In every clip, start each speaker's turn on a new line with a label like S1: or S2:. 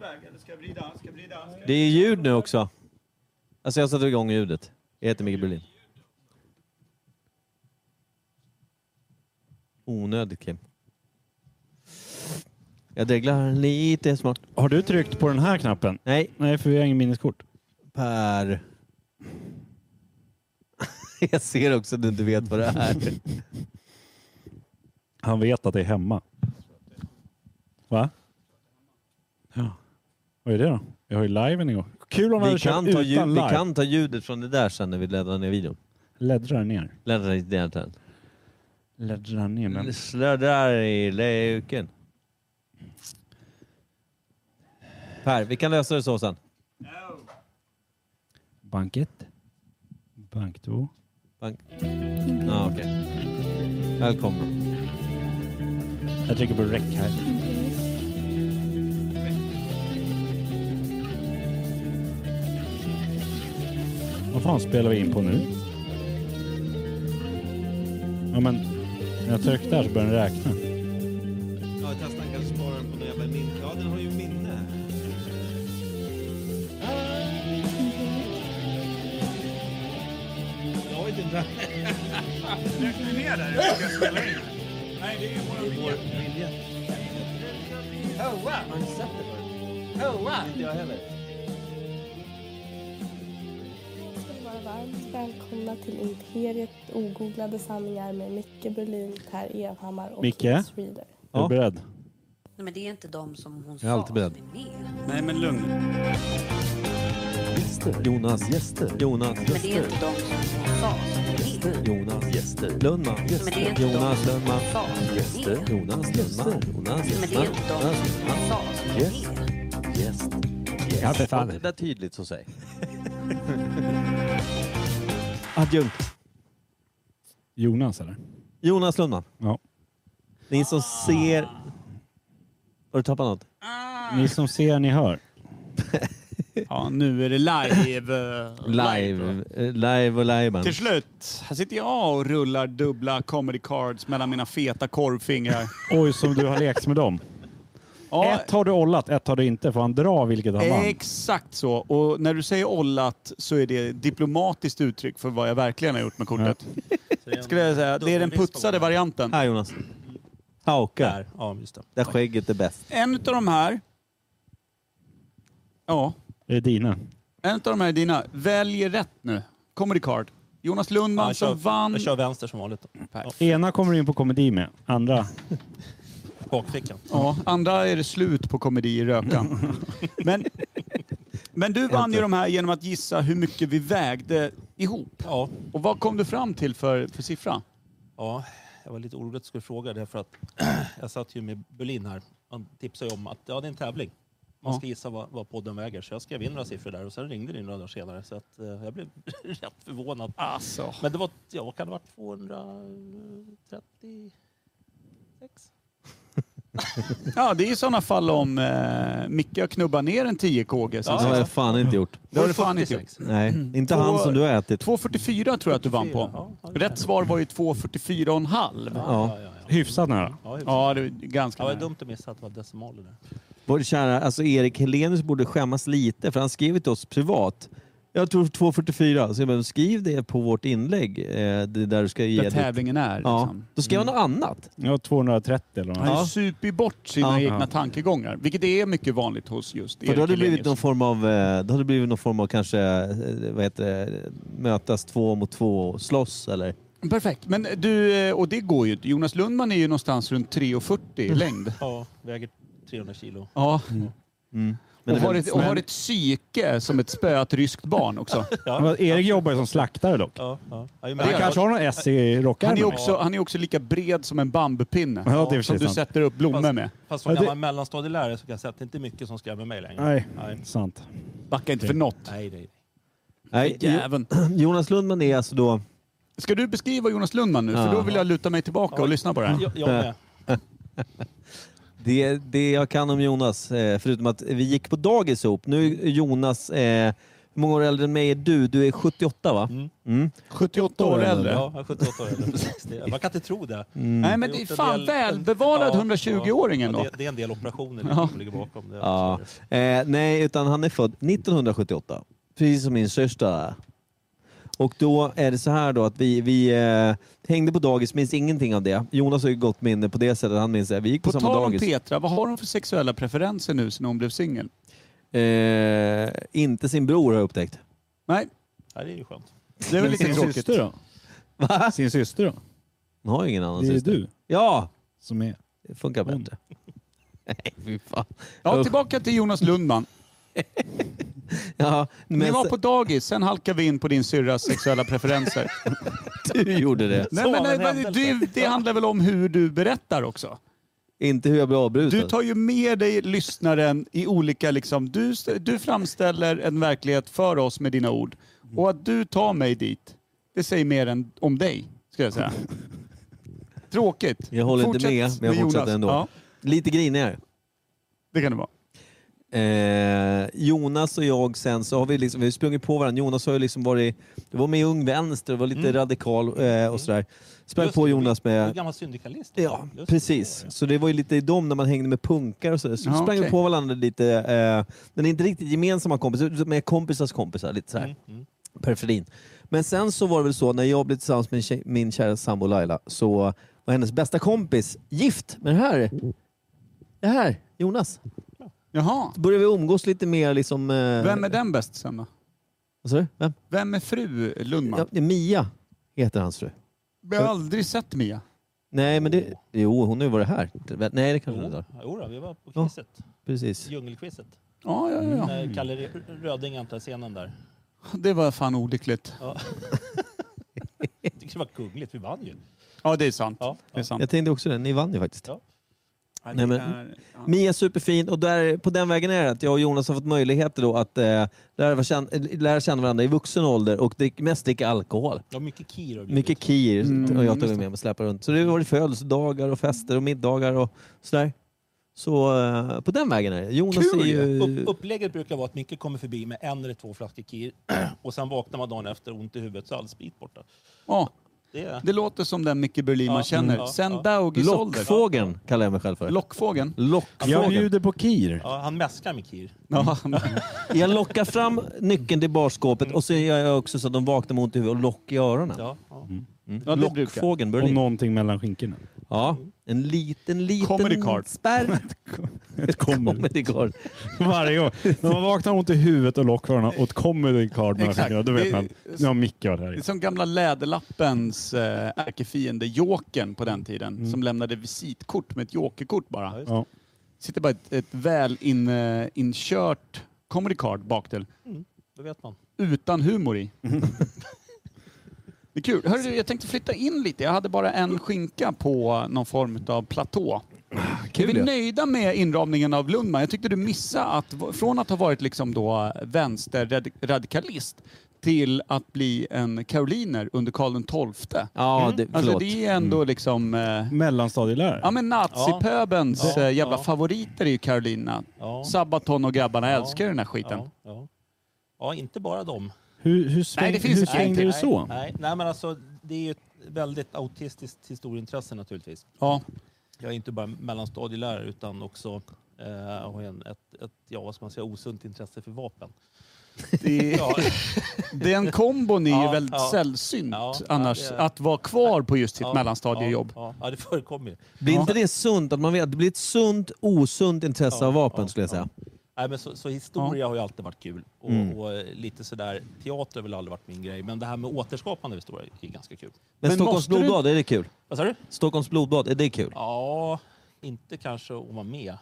S1: väg. Eller ska jag vrida? Ska jag vrida? Ska jag...
S2: Det är ljud nu också. Alltså jag satte igång ljudet. Jag heter Micke Berlin. Onödigt Kim. Jag dreglar lite smart.
S3: Har du tryckt på den här knappen?
S2: Nej,
S3: Nej, för vi har ingen minneskort.
S2: Per. jag ser också att du inte vet vad det är.
S3: Han vet att det är hemma. Va? Ja. Vad är det då? Vi har ju liven igång. Kul om han
S2: Vi
S3: hade kört
S2: kan, ta
S3: utan
S2: ljud, vi
S3: live.
S2: kan ta ljudet från det där sen när vi laddar ner videon.
S3: Läddrar ner.
S2: Laddar ner den.
S3: Läddrar ner den.
S2: Sladdar i löken. Per, vi kan lösa det så sen.
S1: No.
S3: Bank 1. Bank 2.
S2: Bank. Ja, okej. Välkomna.
S3: Jag trycker på rec här. Vad fan spelar vi in på nu? Ja men, när jag tryckte där så började den räkna.
S2: Ja, testa kanske spara den på någon jävla minne. Ja, den har ju minne. Jag vet inte.
S1: Räknar ni ner där? Jag ska spela in. Nej, det är ju våra
S2: Vår
S1: biljetter.
S2: biljett.
S1: Oh, wow.
S2: Har ni sett det förut?
S1: Oh, wow.
S2: Inte jag heller.
S4: Ska ni vara varmt välkomna till Imperiet ogooglade sanningar med Micke Berlin, Per Evhammar och
S3: Micke?
S4: Kings Reader.
S3: Är
S2: Ja.
S3: du beredd?
S5: Nej, men det är inte de som hon
S2: Jag är alltid
S5: sa
S2: beredd.
S5: som är med.
S6: Nej men lugn.
S7: Gäster.
S2: Jonas.
S7: Gäster.
S2: Jonas.
S5: Men det är inte de som hon sa som är med.
S2: Jonas.
S7: Gäster.
S2: Lundman.
S5: Men det är inte de
S2: Jonas
S5: som
S2: Lundman.
S5: hon sa som är
S7: Gäster.
S5: med.
S2: Jonas Lundman. Jonas
S5: Men det är inte de
S2: Lundman.
S5: som hon sa som
S7: Yes.
S5: är med.
S7: Gäst.
S3: Ja för
S2: Det där tydligt så säg. Adjunkt.
S3: Jonas eller?
S2: Jonas Lundman.
S3: Ja.
S2: Ni som ser... Har du tappat något?
S3: Ni som ser, ni hör.
S6: Ja, nu är det live. eh,
S2: Live. eh, Live och live.
S6: Till slut, här sitter jag och rullar dubbla comedy cards mellan mina feta korvfingrar.
S3: Oj, som du har lekt med dem.
S6: Ja,
S3: Ett har du ollat, ett har du inte. Får han dra vilket han vann?
S6: exakt så. Och när du säger ollat så är det diplomatiskt uttryck för vad jag verkligen har gjort med kortet. Skulle jag säga. Det är den putsade varianten.
S2: Här Jonas. Hauka.
S8: Där, ja just det.
S2: Där skägget är bäst.
S6: En utav de här... Ja,
S3: Är det dina?
S6: en utav de här är dina. Välj rätt nu. Comedy card. Jonas Lundman
S8: jag, kör,
S6: som vann...
S8: jag kör vänster som vanligt. då.
S3: Ena kommer du in på komedi med, andra...
S8: Bakfickan.
S6: Ja, andra är det slut på komedi i rökan. Men, men du vann ju de här genom att gissa hur mycket vi vägde ihop.
S8: Ja,
S6: Och vad kom du fram till för, för siffra?
S8: ja, jag var lite orolig att du skulle fråga därför att jag satt ju med Berlin här. Han tipsade ju om att ja, det är en tävling. Man
S6: Ja.
S8: ska gissa vad, vad podden väger. Så jag skrev in några siffror där och sen ringde ni några dagar senare. Så att, eh, jag blev rätt förvånad.
S6: Alltså.
S8: Men det var, ja, vad kan det ha varit 236?
S6: Ja, det är i sådana fall om eh, Micke har knubbat ner en 10KG.
S2: Det
S8: Ja,
S2: har
S6: ja,
S2: jag fan inte gjort.
S6: det har du fan inte gjort.
S2: Nej, inte han som du har ätit.
S6: 2.44 tror jag att du vann på.
S8: 44, ja.
S6: Rätt svar var ju 2.44,5.
S2: Ja.
S8: ja, ja.
S3: Hyfsat nära.
S8: ja, ja.
S6: Ja, det är ganska
S8: Ja, det var
S6: nära.
S8: dumt att missa att det var decimaler där.
S2: Vår kära alltså Erik Helenius borde skämmas lite för han skrev till oss privat. Jag tror 2.44, så jag bara, skriv det på vårt inlägg. eh, Det där du ska ge
S6: Där
S2: ditt-
S6: tävlingen är.
S2: Ja,
S6: Liksom.
S2: då skrev han något annat.
S3: Ja, 230 eller
S6: Han
S3: något.
S6: ja. super bort sina
S2: Ja.
S6: egna
S3: Ja.
S6: tankegångar, vilket är mycket vanligt hos just
S2: För
S6: Erik
S2: då har det blivit
S6: Hellenius.
S2: någon form av, eh, då har det blivit någon form av kanske, eh, vad heter det, mötas två mot två och slåss eller?
S6: Perfekt. Men du, eh, och det går ju inte. Jonas Lundman är ju någonstans runt 3,40 i längd.
S8: Ja, väger 300 kilo.
S6: Ja.
S2: Men
S6: och, har ett, och har ett psyke som ett spöat ryskt barn också.
S3: Men Erik jobbar ju som slaktare dock.
S8: Ja, ja. Ja, ju
S6: Det
S8: mer-
S3: Han kanske har någon S
S6: Han
S3: i
S6: är
S3: rockärmen.
S6: också, han är också lika bred som en bambupinne.
S3: Ja, det är
S6: som
S3: precis
S6: du
S3: sant.
S6: sätter upp blommor
S8: Fast-
S6: med.
S8: Fast
S3: Ja,
S8: som
S3: det-
S8: gammal mellanstadielärare så kan jag säga att det inte är mycket som skrämmer mig längre.
S3: Nej,
S8: Nej.
S3: sant.
S6: Backa inte för något.
S8: Nej, nej.
S2: Nej,
S6: Jäveln.
S2: Jonas Lundman är alltså då,
S6: Ska du beskriva Jonas Lundman nu? För då vill jag luta mig tillbaka och lyssna på det här.
S8: Jag, jag med.
S2: det, det jag kan om Jonas, eh, förutom att vi gick på dagis ihop. Nu är Jonas eh, Hur många år äldre än mig är du? Du är 78 va?
S8: Mm.
S6: 78 år äldre. Mm.
S8: Ja, jag är 78 år äldre. Precis det. Man kan inte tro det.
S6: Nej men
S8: Jag har
S6: det är
S8: gjort en
S6: fan
S8: del-
S6: välbevarad
S8: Ja,
S6: 120-åring
S8: ja,
S6: ändå.
S8: det, det är en del operationer
S6: Ja.
S8: som ligger bakom det.
S2: Ja. Eh, nej, utan han är född 1978. Precis som min syster. Och då är det så här då att vi, vi eh, hängde på dagis, minns ingenting av det. Jonas har ju gott minne på det sättet, han minns det. Vi gick på,
S6: På
S2: samma
S6: tal om
S2: dagis.
S6: Petra, vad har hon för sexuella preferenser nu sen hon blev singel?
S2: Eh, inte sin bror har jag upptäckt.
S6: Nej,
S8: Ja, det är ju skönt.
S6: det är väl
S3: Men
S6: lite
S3: sin
S6: tråkigt.
S3: syster då?
S2: Va?
S3: Sin syster då?
S2: Han har ju ingen annan
S3: Det är ju
S2: syster.
S3: du Mm.
S2: Ja!
S3: som är...
S2: Det funkar
S3: Hon.
S2: bättre. Nej, fy fan.
S6: Ja,
S2: Usch.
S6: tillbaka till Jonas Lundman.
S2: Ja,
S6: Ni
S2: men
S6: var på dagis, sen halkade vi in på din syrras sexuella preferenser.
S2: du gjorde det.
S6: Nej, men,
S8: av
S6: nej,
S8: en
S6: men
S8: händelse.
S6: det, det handlar väl om hur du berättar också?
S2: Inte hur jag blev avbruten.
S6: Du tar ju med dig lyssnaren i olika... Liksom, du, du framställer en verklighet för oss med dina ord. Och att du tar mig dit, det säger mer än om dig, ska jag säga. Tråkigt.
S2: Jag håller inte
S6: Fortsätt
S2: med, men jag
S6: med Jonas.
S2: fortsätter ändå.
S6: Ja,
S2: Lite grinigare.
S6: det kan det vara.
S2: Eh, Jonas och jag sen så har vi, liksom, vi har sprungit på varandra. Jonas har ju liksom varit, du var med i Ung Vänster och var lite radikal eh, och sådär. Sprang
S8: Mm. Just
S2: på
S8: det,
S2: Jonas
S8: Du är
S2: med...
S8: gammal syndikalist.
S2: Ja,
S8: Just det. Mm,
S2: precis. Så det var ju lite i dem när man hängde med punkar och sådär. Så
S6: Ja,
S2: sprang vi
S6: okej.
S2: på varandra lite. Eh, men inte riktigt gemensamma kompisar, utan med kompisars kompisar. Lite sådär.
S8: Mm, mm.
S2: Periferin. Men sen så var det väl så när jag blev tillsammans med tje- min kära sambo Laila så var hennes bästa kompis gift med det här. Det här, Jonas.
S6: Jaha.
S2: Började vi umgås lite mer liksom... eh,
S6: Vem är den bäst sen då?
S2: Vad sa du? Vem?
S6: Vem är fru
S2: Ja,
S6: Lundman?
S2: det är Mia heter hans fru.
S6: Jag har aldrig sett Mia.
S2: Nej, men det... Jo, hon har ju varit här. Nej, det kanske hon inte har.
S8: Jo, jodå, vi var på
S2: Ja.
S8: quizet.
S2: Precis.
S8: Djungelquizet.
S6: Ja, ja, ja.
S8: När Kalle Re- Röding antar scenen där.
S6: Det var fan olyckligt.
S8: Ja. Jag tycker det var kungligt, vi vann ju.
S6: Ja, det är sant.
S8: Ja,
S6: Det är sant.
S2: Jag tänkte också det. Ni vann ju faktiskt.
S8: Ja.
S2: Nej, men- Mia är superfin och där, på den vägen är det att jag och Jonas har fått möjligheter då att eh, lära, känna, lära känna varandra i vuxen ålder och drick, mest dricka alkohol.
S8: Ja, mycket kir har det blivit.
S2: Mycket kir
S6: Mm,
S2: och jag
S6: just det.
S2: tog med mig och släpade runt. Så det var det födelsedagar och fester och middagar och sådär. Så eh, på den vägen är det. Jonas
S6: Kul
S2: är ju...
S8: Upp, upplägget brukar vara att Micke kommer förbi med en eller två flaskor kir och sen vaknar man dagen efter ont i huvudet så är all sprit borta.
S6: Ja,
S8: Det är...
S6: det låter som den Micke Berlin man
S8: Ja,
S6: känner.
S8: ja,
S6: Sen
S8: ja.
S6: dagisålder.
S2: Lockfågeln kallar jag mig själv för.
S6: Lockfågeln.
S3: Jag
S2: Lockfågeln.
S3: bjuder på Kir.
S8: Ja, han mäskar med kir.
S6: Ja,
S2: Jag lockar fram nyckeln till barskåpet och så gör jag också så att de vaknar med ont i huvudet och lock i öronen.
S8: Ja, ja.
S2: Mm.
S6: Ja, det brukar.
S2: Lockfågeln
S3: Och
S2: Berlin.
S3: någonting mellan skinkorna.
S2: Ja, en liten, liten
S6: Comedy card.
S2: spärr.
S3: Kommer.
S2: Comedy card.
S3: Varje gång. När man vaknar ont i huvudet och lockharna och ett comedy card mellan
S6: Exakt.
S3: skinkorna, då vet
S6: Det-
S3: man. Nu har Micke varit här
S6: det är
S3: igen.
S6: som gamla Läderlappens eh, ärkefiende Jokern på den tiden som lämnade visitkort med ett jokerkort bara.
S8: just
S3: Ja.
S6: Sitter bara ett, ett väl in, eh, inkört comedy card bak till
S8: Då vet man.
S6: utan humor i.
S8: Mm.
S6: Det är kul. Hörru, du, jag tänkte flytta in lite. Jag hade bara en skinka på någon form av platå. Är vi
S2: ja.
S6: nöjda med inramningen av Lundman? Jag tyckte du missade att v- från att ha varit liksom då vänsterradikalist till att bli en karoliner under Karl XII.
S2: Ja, det, förlåt.
S6: Alltså det är
S8: Mm.
S6: ändå liksom... Eh,
S3: Mellanstadielärare.
S6: ja men nazipöbens
S8: Ja.
S6: eh, jävla
S8: Ja.
S6: favoriter är ju Karolina.
S8: Ja,
S6: Sabaton och grabbarna
S8: Ja.
S6: älskar ju den här skiten.
S8: ja, ja. ja inte bara dem.
S3: Hur, hur, sväng,
S6: Nej, det finns
S3: hur
S6: ett gäng
S3: svängde
S6: till.
S3: du
S8: nej,
S3: så?
S8: Nej, nej, men alltså det är ju ett väldigt autistiskt historieintresse naturligtvis.
S6: Ja.
S8: Jag är inte bara mellanstadielärare utan också eh, har en, ett, ett, ja, vad ska man säga, osunt intresse för vapen.
S6: Det,
S8: Ja,
S6: den kombon är ju
S8: Ja,
S6: väldigt
S8: ja.
S6: sällsynt
S8: Ja, ja,
S6: annars.
S8: det är-
S6: Att vara kvar på just sitt
S8: ja,
S6: mellanstadiejobb.
S8: Ja, ja, det förekommer ju.
S2: Blir inte det sunt? Att man vet, det blir ett sunt, osunt intresse
S8: Ja,
S2: av vapen
S8: ja,
S2: skulle jag säga.
S8: Nej, men så, så historia har ju alltid varit kul. Och,
S6: Mm.
S8: och eh, lite sådär, teater har väl aldrig varit min grej. Men det här med återskapande av historia är ganska kul.
S2: Men,
S6: Men
S2: Stockholms
S6: måste du-
S2: blodbad, är det kul?
S8: Vad sa du?
S2: Stockholms blodbad, är det kul?
S8: Ja, inte kanske om man är med.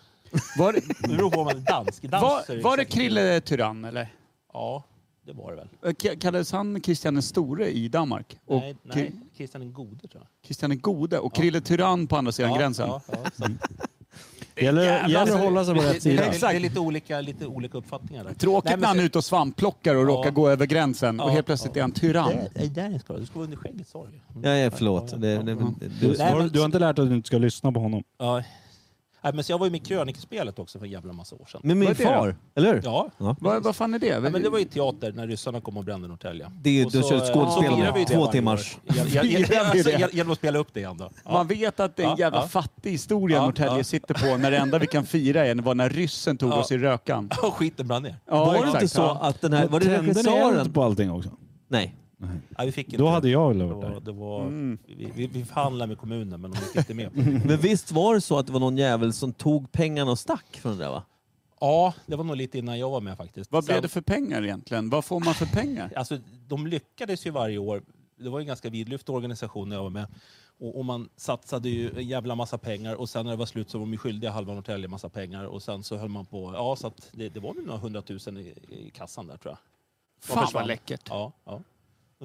S6: Var,
S8: Det beror på om man är dansk. I dans är
S6: var, var det
S8: säkert kul.
S6: Krille Tyrann eller?
S8: Ja, det var det väl.
S6: Eh, K- Kallades han Kristian den store i Danmark? Och
S8: nej,
S6: Kri-
S8: nej, Kristian den gode tror jag.
S6: Kristian den gode och Krille Tyrann på andra sidan
S8: ja,
S6: gränsen?
S8: Ja, ja, så.
S3: Gäller, gäller att hålla sig på
S8: Det-
S3: rätt
S8: det-
S3: sida.
S8: Det, det är lite olika, lite olika uppfattningar där.
S6: Tråkigt
S8: Nej, men
S6: när han
S8: så-
S6: är ute och svampplockar och
S8: Ja.
S6: råkar gå över gränsen och
S8: Ja,
S6: helt plötsligt
S8: ja.
S6: är han tyrann.
S8: Nej, där ska du. Du ska vara under skägget, sa du ju. Mm.
S2: Ja, ja, förlåt. Det, det, det,
S3: Du,
S2: det,
S8: Nej,
S3: du,
S8: men-
S3: du har inte lärt dig att du inte ska lyssna på honom.
S8: Ja. Nej, men så jag var ju med i krönikespelet också för en jävla massa år sedan.
S2: Med min
S6: Vad är det
S2: far, eller hur?
S8: Ja,
S6: Vad, vad fan är det?
S8: Nej, men det var ju teater när ryssarna kom och brände Norrtälje.
S2: Det är ju-
S8: Och
S2: de
S8: så,
S2: kör
S8: eh,
S2: skådespel
S8: så firar
S2: med
S8: vi det
S2: två
S8: varje
S2: timmars.
S8: år. Ja, ja, ja,
S6: Firar vi
S8: alltså,
S6: det?
S8: ge- Genom att spela upp det igen då. Ja.
S6: Man vet att det är en
S8: Ja,
S6: jävla
S8: ja.
S6: fattig historia
S8: Ja,
S6: Norrtälje
S8: ja.
S6: sitter på när det enda vi kan fira är var när ryssen tog
S8: Ja.
S6: oss i rökan.
S8: Och skiten brann ner.
S6: Ja,
S2: var det
S6: exakt.
S2: inte så
S6: Ja.
S2: att den här... Var det
S3: Tände ni eld
S2: regissören?
S3: på allting också?
S2: Nej.
S8: Nej, vi fick inte
S3: Då hade jag väl
S8: det
S3: varit
S8: var,
S3: där.
S8: det var,
S6: Mm.
S8: vi, vi, vi förhandlade med kommunen men de gick inte med. på det.
S2: Men visst var det så att det var någon jävel som tog pengarna och stack från det där va?
S8: Ja, det var nog lite innan jag var med faktiskt.
S6: Vad blev
S8: Sen-
S6: det för pengar egentligen? Vad får man för pengar?
S8: Alltså, de lyckades ju varje år. Det var ju en ganska vidlyftig organisation när jag var med. Och, och man satsade ju en jävla massa pengar och sen när det var slut så var de ju skyldiga halva Norrtälje massa pengar och sen så höll man på. Ja, så att det, det var nog några hundratusen i, i kassan där tror jag.
S6: Fan vad
S8: försvann.
S6: läckert.
S8: Ja, ja.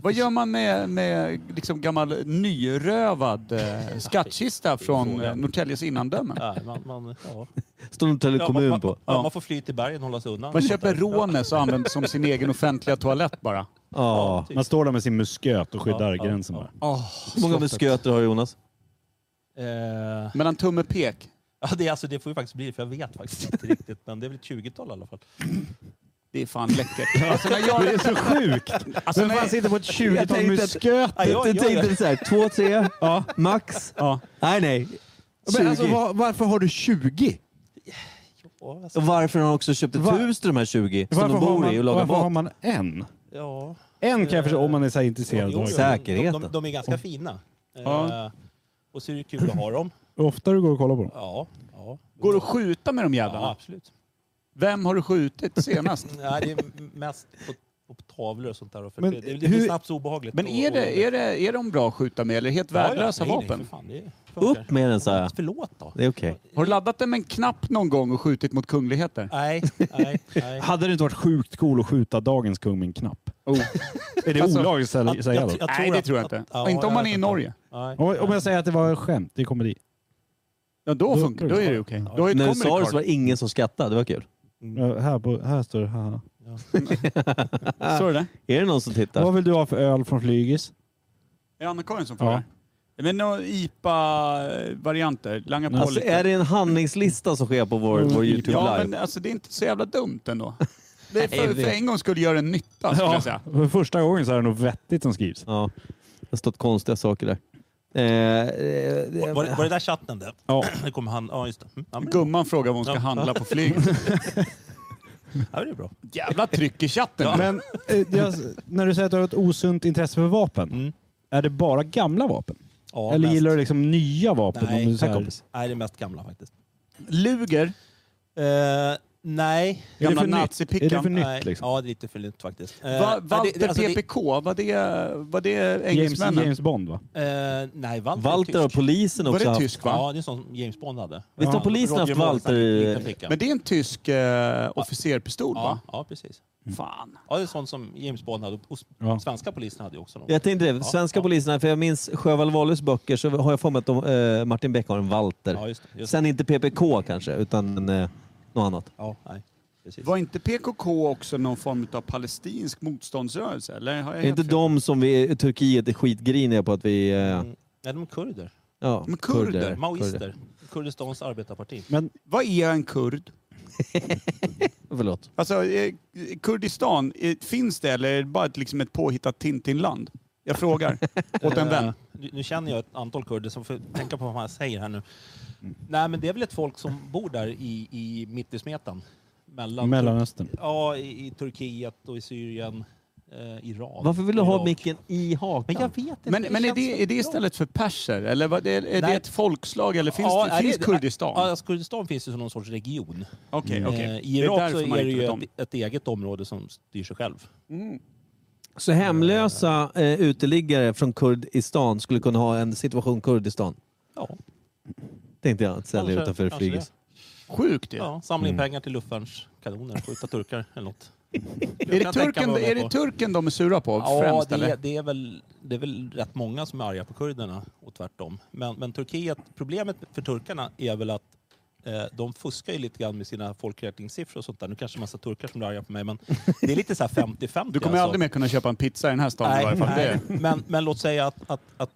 S6: Vad gör man med, med liksom gammal nyrövad eh, skattkista från eh, Norrtäljes innandöme?
S8: Nej, man, man, ja.
S2: Står Norrtälje
S8: Ja, man,
S2: kommun
S8: man,
S2: på.
S8: ja, man får fly till bergen och hålla sig undan.
S6: Man köper Rånes och använder som sin egen offentliga toalett bara.
S2: Ja.
S3: Man står där med sin musköt och skyddar
S8: Ja, ja,
S3: gränsen
S8: ja.
S3: bara.
S2: Hur många musköter har du Jonas?
S8: Eh,
S6: Mellan tumme och pek.
S8: ja, det, är alltså, det får ju faktiskt bli för jag vet faktiskt inte riktigt. Men det är väl ett 20-tal i alla fall.
S6: Det är fan läckert. Alltså när jag, Alltså,
S3: Det är så sjukt!
S8: Alltså,
S3: Vem fan sitter på ett 20-tal
S2: tänkte att-
S3: musköt?
S8: Ja, jag-
S2: du
S8: jag-
S2: tänkte så här, två, tre, max?
S6: Ja.
S2: Nej, nej. 20.
S7: Men alltså, var, varför har du 20?
S8: Ja, alltså,
S2: Och varför har han också köpt ett
S3: Va-
S2: hus till de här 20 som
S3: Varför
S2: de
S3: har
S2: bor i och
S3: man-
S2: lagar
S3: varför har
S2: mat?
S3: man en?
S8: ja.
S3: En kan jag förstå om man är så här intresserad
S8: Jo,
S3: av
S8: jo,
S3: det.
S2: Säkerheten.
S8: De, de, de är ganska fina.
S6: Ja.
S8: Eh, och så är det kul att ha dem.
S3: Hur ofta du går och kollar på dem?
S8: Ja, ja.
S6: går det att skjuta med de
S8: ja
S6: jävlarna?
S8: absolut.
S6: Vem har du skjutit senast?
S8: Nej, det är mest på, på tavlor och sånt där. För
S3: Men
S8: det, det, det
S3: hur-
S8: blir snabbt så obehagligt.
S6: Men är,
S8: och-
S6: det, är, det, är de bra att skjuta med eller helt
S8: Ja, ja.
S6: värdelösa
S8: Nej, Nej,
S6: vapen?
S8: för fan, det funkar.
S2: Upp med den sa jag.
S8: Förlåt då.
S2: Det är okej.
S6: Har du laddat den med en knapp någon gång och skjutit mot kungligheter?
S8: Nej, nej, nej.
S3: Hade det inte varit sjukt cool att skjuta dagens kung med en knapp? Är det
S6: Alltså,
S3: olagligt att
S8: att-
S3: säga
S8: att-
S3: då?
S8: jag
S6: Oh. Nej,
S8: tror
S6: det
S8: att-
S6: tror jag
S8: att-
S6: inte.
S8: ja,
S6: inte om
S8: jag
S6: man
S8: vet
S6: är i
S8: inte.
S6: Norge.
S8: Nej.
S3: Om om jag säger att det var skämt i komedi.
S6: Ja, då
S3: Då-
S6: funkar Då är det okej. Då är det
S2: När du
S6: comedy
S2: sa det
S6: card.
S2: så var det ingen som skrattade. Det var kul.
S3: Ja, Här, på, här står det haha.
S6: Såg du det?
S2: Är det någon som tittar?
S3: Vad vill du ha för öl från Flygis?
S6: Är det Anna-Karin som frågar? Men några IPA-varianter? Langa på
S2: Alltså,
S6: lite.
S2: är det en handlingslista som sker på vår, vår Youtube
S6: ja,
S2: live?
S6: men alltså, det är inte så jävla dumt ändå. Det är för,
S2: det-
S6: för en gång skulle göra en nytta, skulle jag säga.
S3: För första gången så är det nog vettigt som skrivs.
S2: Ja. Det har stått konstiga saker där. Eh, eh, det-
S8: Var, det- var det där chatten det?
S3: Ja.
S8: Det kommer han... Ja, just det. Mm, Ja, men, det är bra.
S6: Gumman frågar vad hon ska
S8: Ja.
S6: handla på flyg.
S8: ja, det är bra.
S6: Jävla tryck i chatten. Men-
S3: Men eh, jag, när du säger att du har ett osunt intresse för vapen.
S8: Mm.
S3: Är det bara gamla vapen?
S8: Ja,
S3: Eller
S8: mest.
S3: gillar du liksom nya vapen?
S8: Nej,
S3: om du så
S8: tack,
S3: här-
S8: kompis. Nej, det är mest gamla faktiskt.
S6: Luger,
S8: Eh, nej,
S3: Är det
S6: gamla
S3: för nytt? Är det för
S6: nazipickan.
S8: nej.
S3: nytt liksom?
S8: Ja, det är lite för nytt faktiskt.
S6: Va-
S8: Eh, nej,
S6: Walter
S8: det- det- alltså, det-
S6: PPK, var det, var det
S3: James,
S6: engelsmännen?
S3: James Bond va?
S8: Eh, nej, Walter, är
S2: Walter
S8: tysk.
S2: och polisen
S6: Var
S2: också
S6: det
S2: haft-
S6: tysk va?
S8: Ja, det är sånt som James Bond hade.
S2: Visst har
S8: Ja.
S2: polisen
S8: Roger
S2: haft Walter i-
S8: Walter ficka.
S6: Men det är en tysk eh, officerpistol
S8: ja,
S6: va?
S8: ja, precis.
S2: Mm.
S6: Fan.
S8: Ja, det är sånt som James Bond hade. Och s-
S3: Ja.
S8: svenska polisen hade ju också någon.
S2: Jag tänkte det, svenska
S8: ja.
S2: poliserna, för jag minns Sjöwall Wahlöös böcker så har jag för mig att de, eh, Martin Beck har en Walter.
S8: Ja, just det, just
S2: Sen inte PPK kanske, utan eh, något annat.
S8: Ja, nej. Precis.
S6: Var inte PKK också någon form av palestinsk motståndsrörelse? Eller har jag
S2: Är
S6: helt
S2: inte
S6: fel?
S2: de som vi, Turkiet är skitgriniga på att vi... Eh,
S8: Mm. Nej, de är kurder.
S2: ja,
S6: Men kurder,
S8: Maoister. Kurdistans arbetarparti.
S3: Men
S6: Vad är en kurd?
S2: Förlåt.
S6: Alltså, eh, Kurdistan, eh, finns det eller är det bara ett, liksom ett påhittat Tintinland? Jag frågar. Åt en vän.
S8: Eh, Nu, nu känner jag ett antal kurder, så får jag tänka på vad man säger här nu. Nej, men det är väl ett folk som bor där i, i mitt i smeten. Mellan,
S3: Mellanöstern.
S8: Ja, i, i Turkiet och i Syrien, eh, Iran.
S2: Varför vill du ha
S8: Irak.
S2: micken i hakan?
S8: Men jag vet inte.
S6: Men, men är,
S8: känns
S6: det,
S8: så
S6: är det
S8: bra.
S6: istället för perser? Eller vad, är, är det
S8: Nej.
S6: ett folkslag? Eller finns,
S8: Ja,
S6: det,
S8: nej,
S6: finns
S8: det- Ja,
S6: Kurdistan?
S8: alltså Kurdistan finns ju som någon sorts region.
S6: Okej,
S8: Eh,
S6: okej.
S8: I
S6: Det är
S8: Irak
S6: därför
S8: så
S6: man
S8: är det
S6: inte
S8: ju
S6: vet om
S8: ett, ett eget område som styr sig själv.
S2: Så hemlösa eh, uteliggare från Kurdistan skulle kunna ha en situation Kurdistan?
S8: Ja,
S2: Tänkte jag att sälja
S8: Kanske-
S2: utanför
S8: kanske
S2: flyget.
S6: Sjukt ju.
S8: ja, samla in pengar till luftvärnskanoner, skjuta turkar eller något.
S6: Är det, turken, är det turken de är sura på
S8: Ja,
S6: främst?
S8: det,
S6: Eller?
S8: det, är väl, det är väl rätt många som är arga på kurderna och tvärtom. Men, men Turkiet, problemet för turkarna är väl att eh, de fuskar ju lite grann med sina folkräkningssiffror och sånt där. Nu kanske en massa turkar som blir arga på mig, men det är lite så här 50-50.
S6: Du kommer
S8: alltså.
S6: aldrig mer kunna köpa en pizza i den här staden i
S8: Nej,
S6: varje fall. Det
S8: nej.
S6: är-
S8: Men, men låt säga att, att, att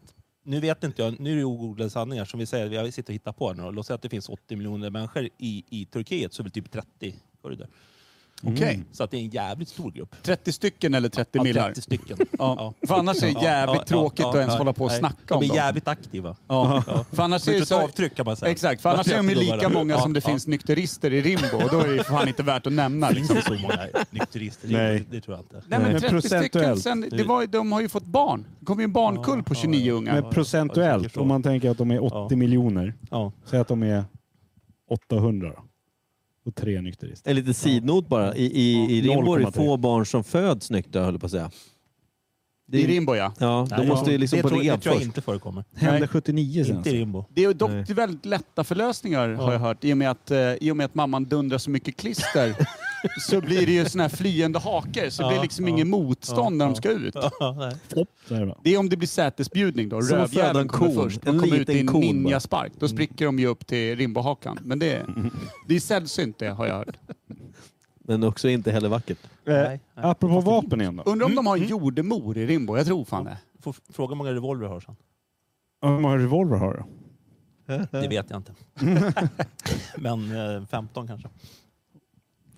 S8: nu vet inte jag, nu är det ogooglade sanningar som vi säger, vi har- vi sitter och hittar på nu. Låt säga att det finns 80 miljoner människor i, i Turkiet så är väl typ 30 kurder.
S6: Okej.
S8: Så att det är en jävligt stor grupp.
S6: 30 stycken eller 30
S8: Mm. Ja,
S6: millar?
S8: 30 stycken.
S6: Ja. För annars är det
S8: Ja,
S6: jävligt
S8: ja,
S6: tråkigt
S8: ja,
S6: att ens
S8: ja,
S6: hålla på och
S8: nej.
S6: snacka om
S8: De är
S6: dem.
S8: jävligt aktiva.
S6: Ja. För annars är det
S8: Skjuter ett
S6: så...
S8: avtryck kan man säga.
S6: Exakt, för annars är de ju
S8: Fattiga
S6: lika
S8: gubbar.
S6: många som
S8: Ja,
S6: det
S8: ja.
S6: finns nykterister i Rimbo och då är det ju fan inte värt att nämna.
S8: Finns
S6: Liksom.
S8: det så många nykterister?
S3: Nej.
S8: Det, det tror jag inte.
S6: Nej men
S3: Men
S6: 30 stycken,
S3: procentuellt.
S6: sen, det var, ju- de har ju fått barn. Det kom ju en barnkull på 29 ungar.
S3: Men procentuellt, om man tänker att de är 80
S8: Ja.
S3: miljoner.
S8: Ja.
S3: Säg att de är 800 då. Och tre nykterister.
S2: En liten sidnot bara. I, i, i
S3: Ja,
S2: Rimbo är det
S3: 0,3.
S2: få barn som föds nyktra, höll jag på att säga. Det
S6: I
S2: är-
S6: Rimbo ja.
S2: Ja, de
S8: Nej,
S2: måste ju liksom
S8: det,
S2: på
S8: tror, det
S2: rehab
S8: tror jag
S2: först.
S8: inte förekommer.
S3: Hände 79 sen.
S8: Inte i Rimbo.
S6: Det är dock
S2: Nej.
S6: väldigt lätta förlösningar har jag hört. I och, med att, eh, I och med att mamman dundrar så mycket klister så blir det ju såna här flyende haker. Så det blir liksom ingen motstånd när de ska ut.
S3: Så är det bara.
S6: Det är om det blir sätesbjudning då.
S2: Som att föda
S6: Rövjäveln
S2: en
S6: kommer
S2: kon.
S6: först.
S2: En
S6: De kommer ut
S2: liten
S6: i en
S2: kon bara.
S6: ninjaspark. Då spricker de ju upp till Rimbohakan. Men det är, det är sällsynt det har jag hört.
S2: Men också inte heller vackert.
S3: Eh, apropå vapen igen då.
S6: Undrar om de har en jordemor i Rimbo? Jag tror fan det.
S8: Får f- fråga hur många revolver har sen.
S3: Hur många revolver har du?
S8: Det vet jag inte. Men eh, 15 kanske.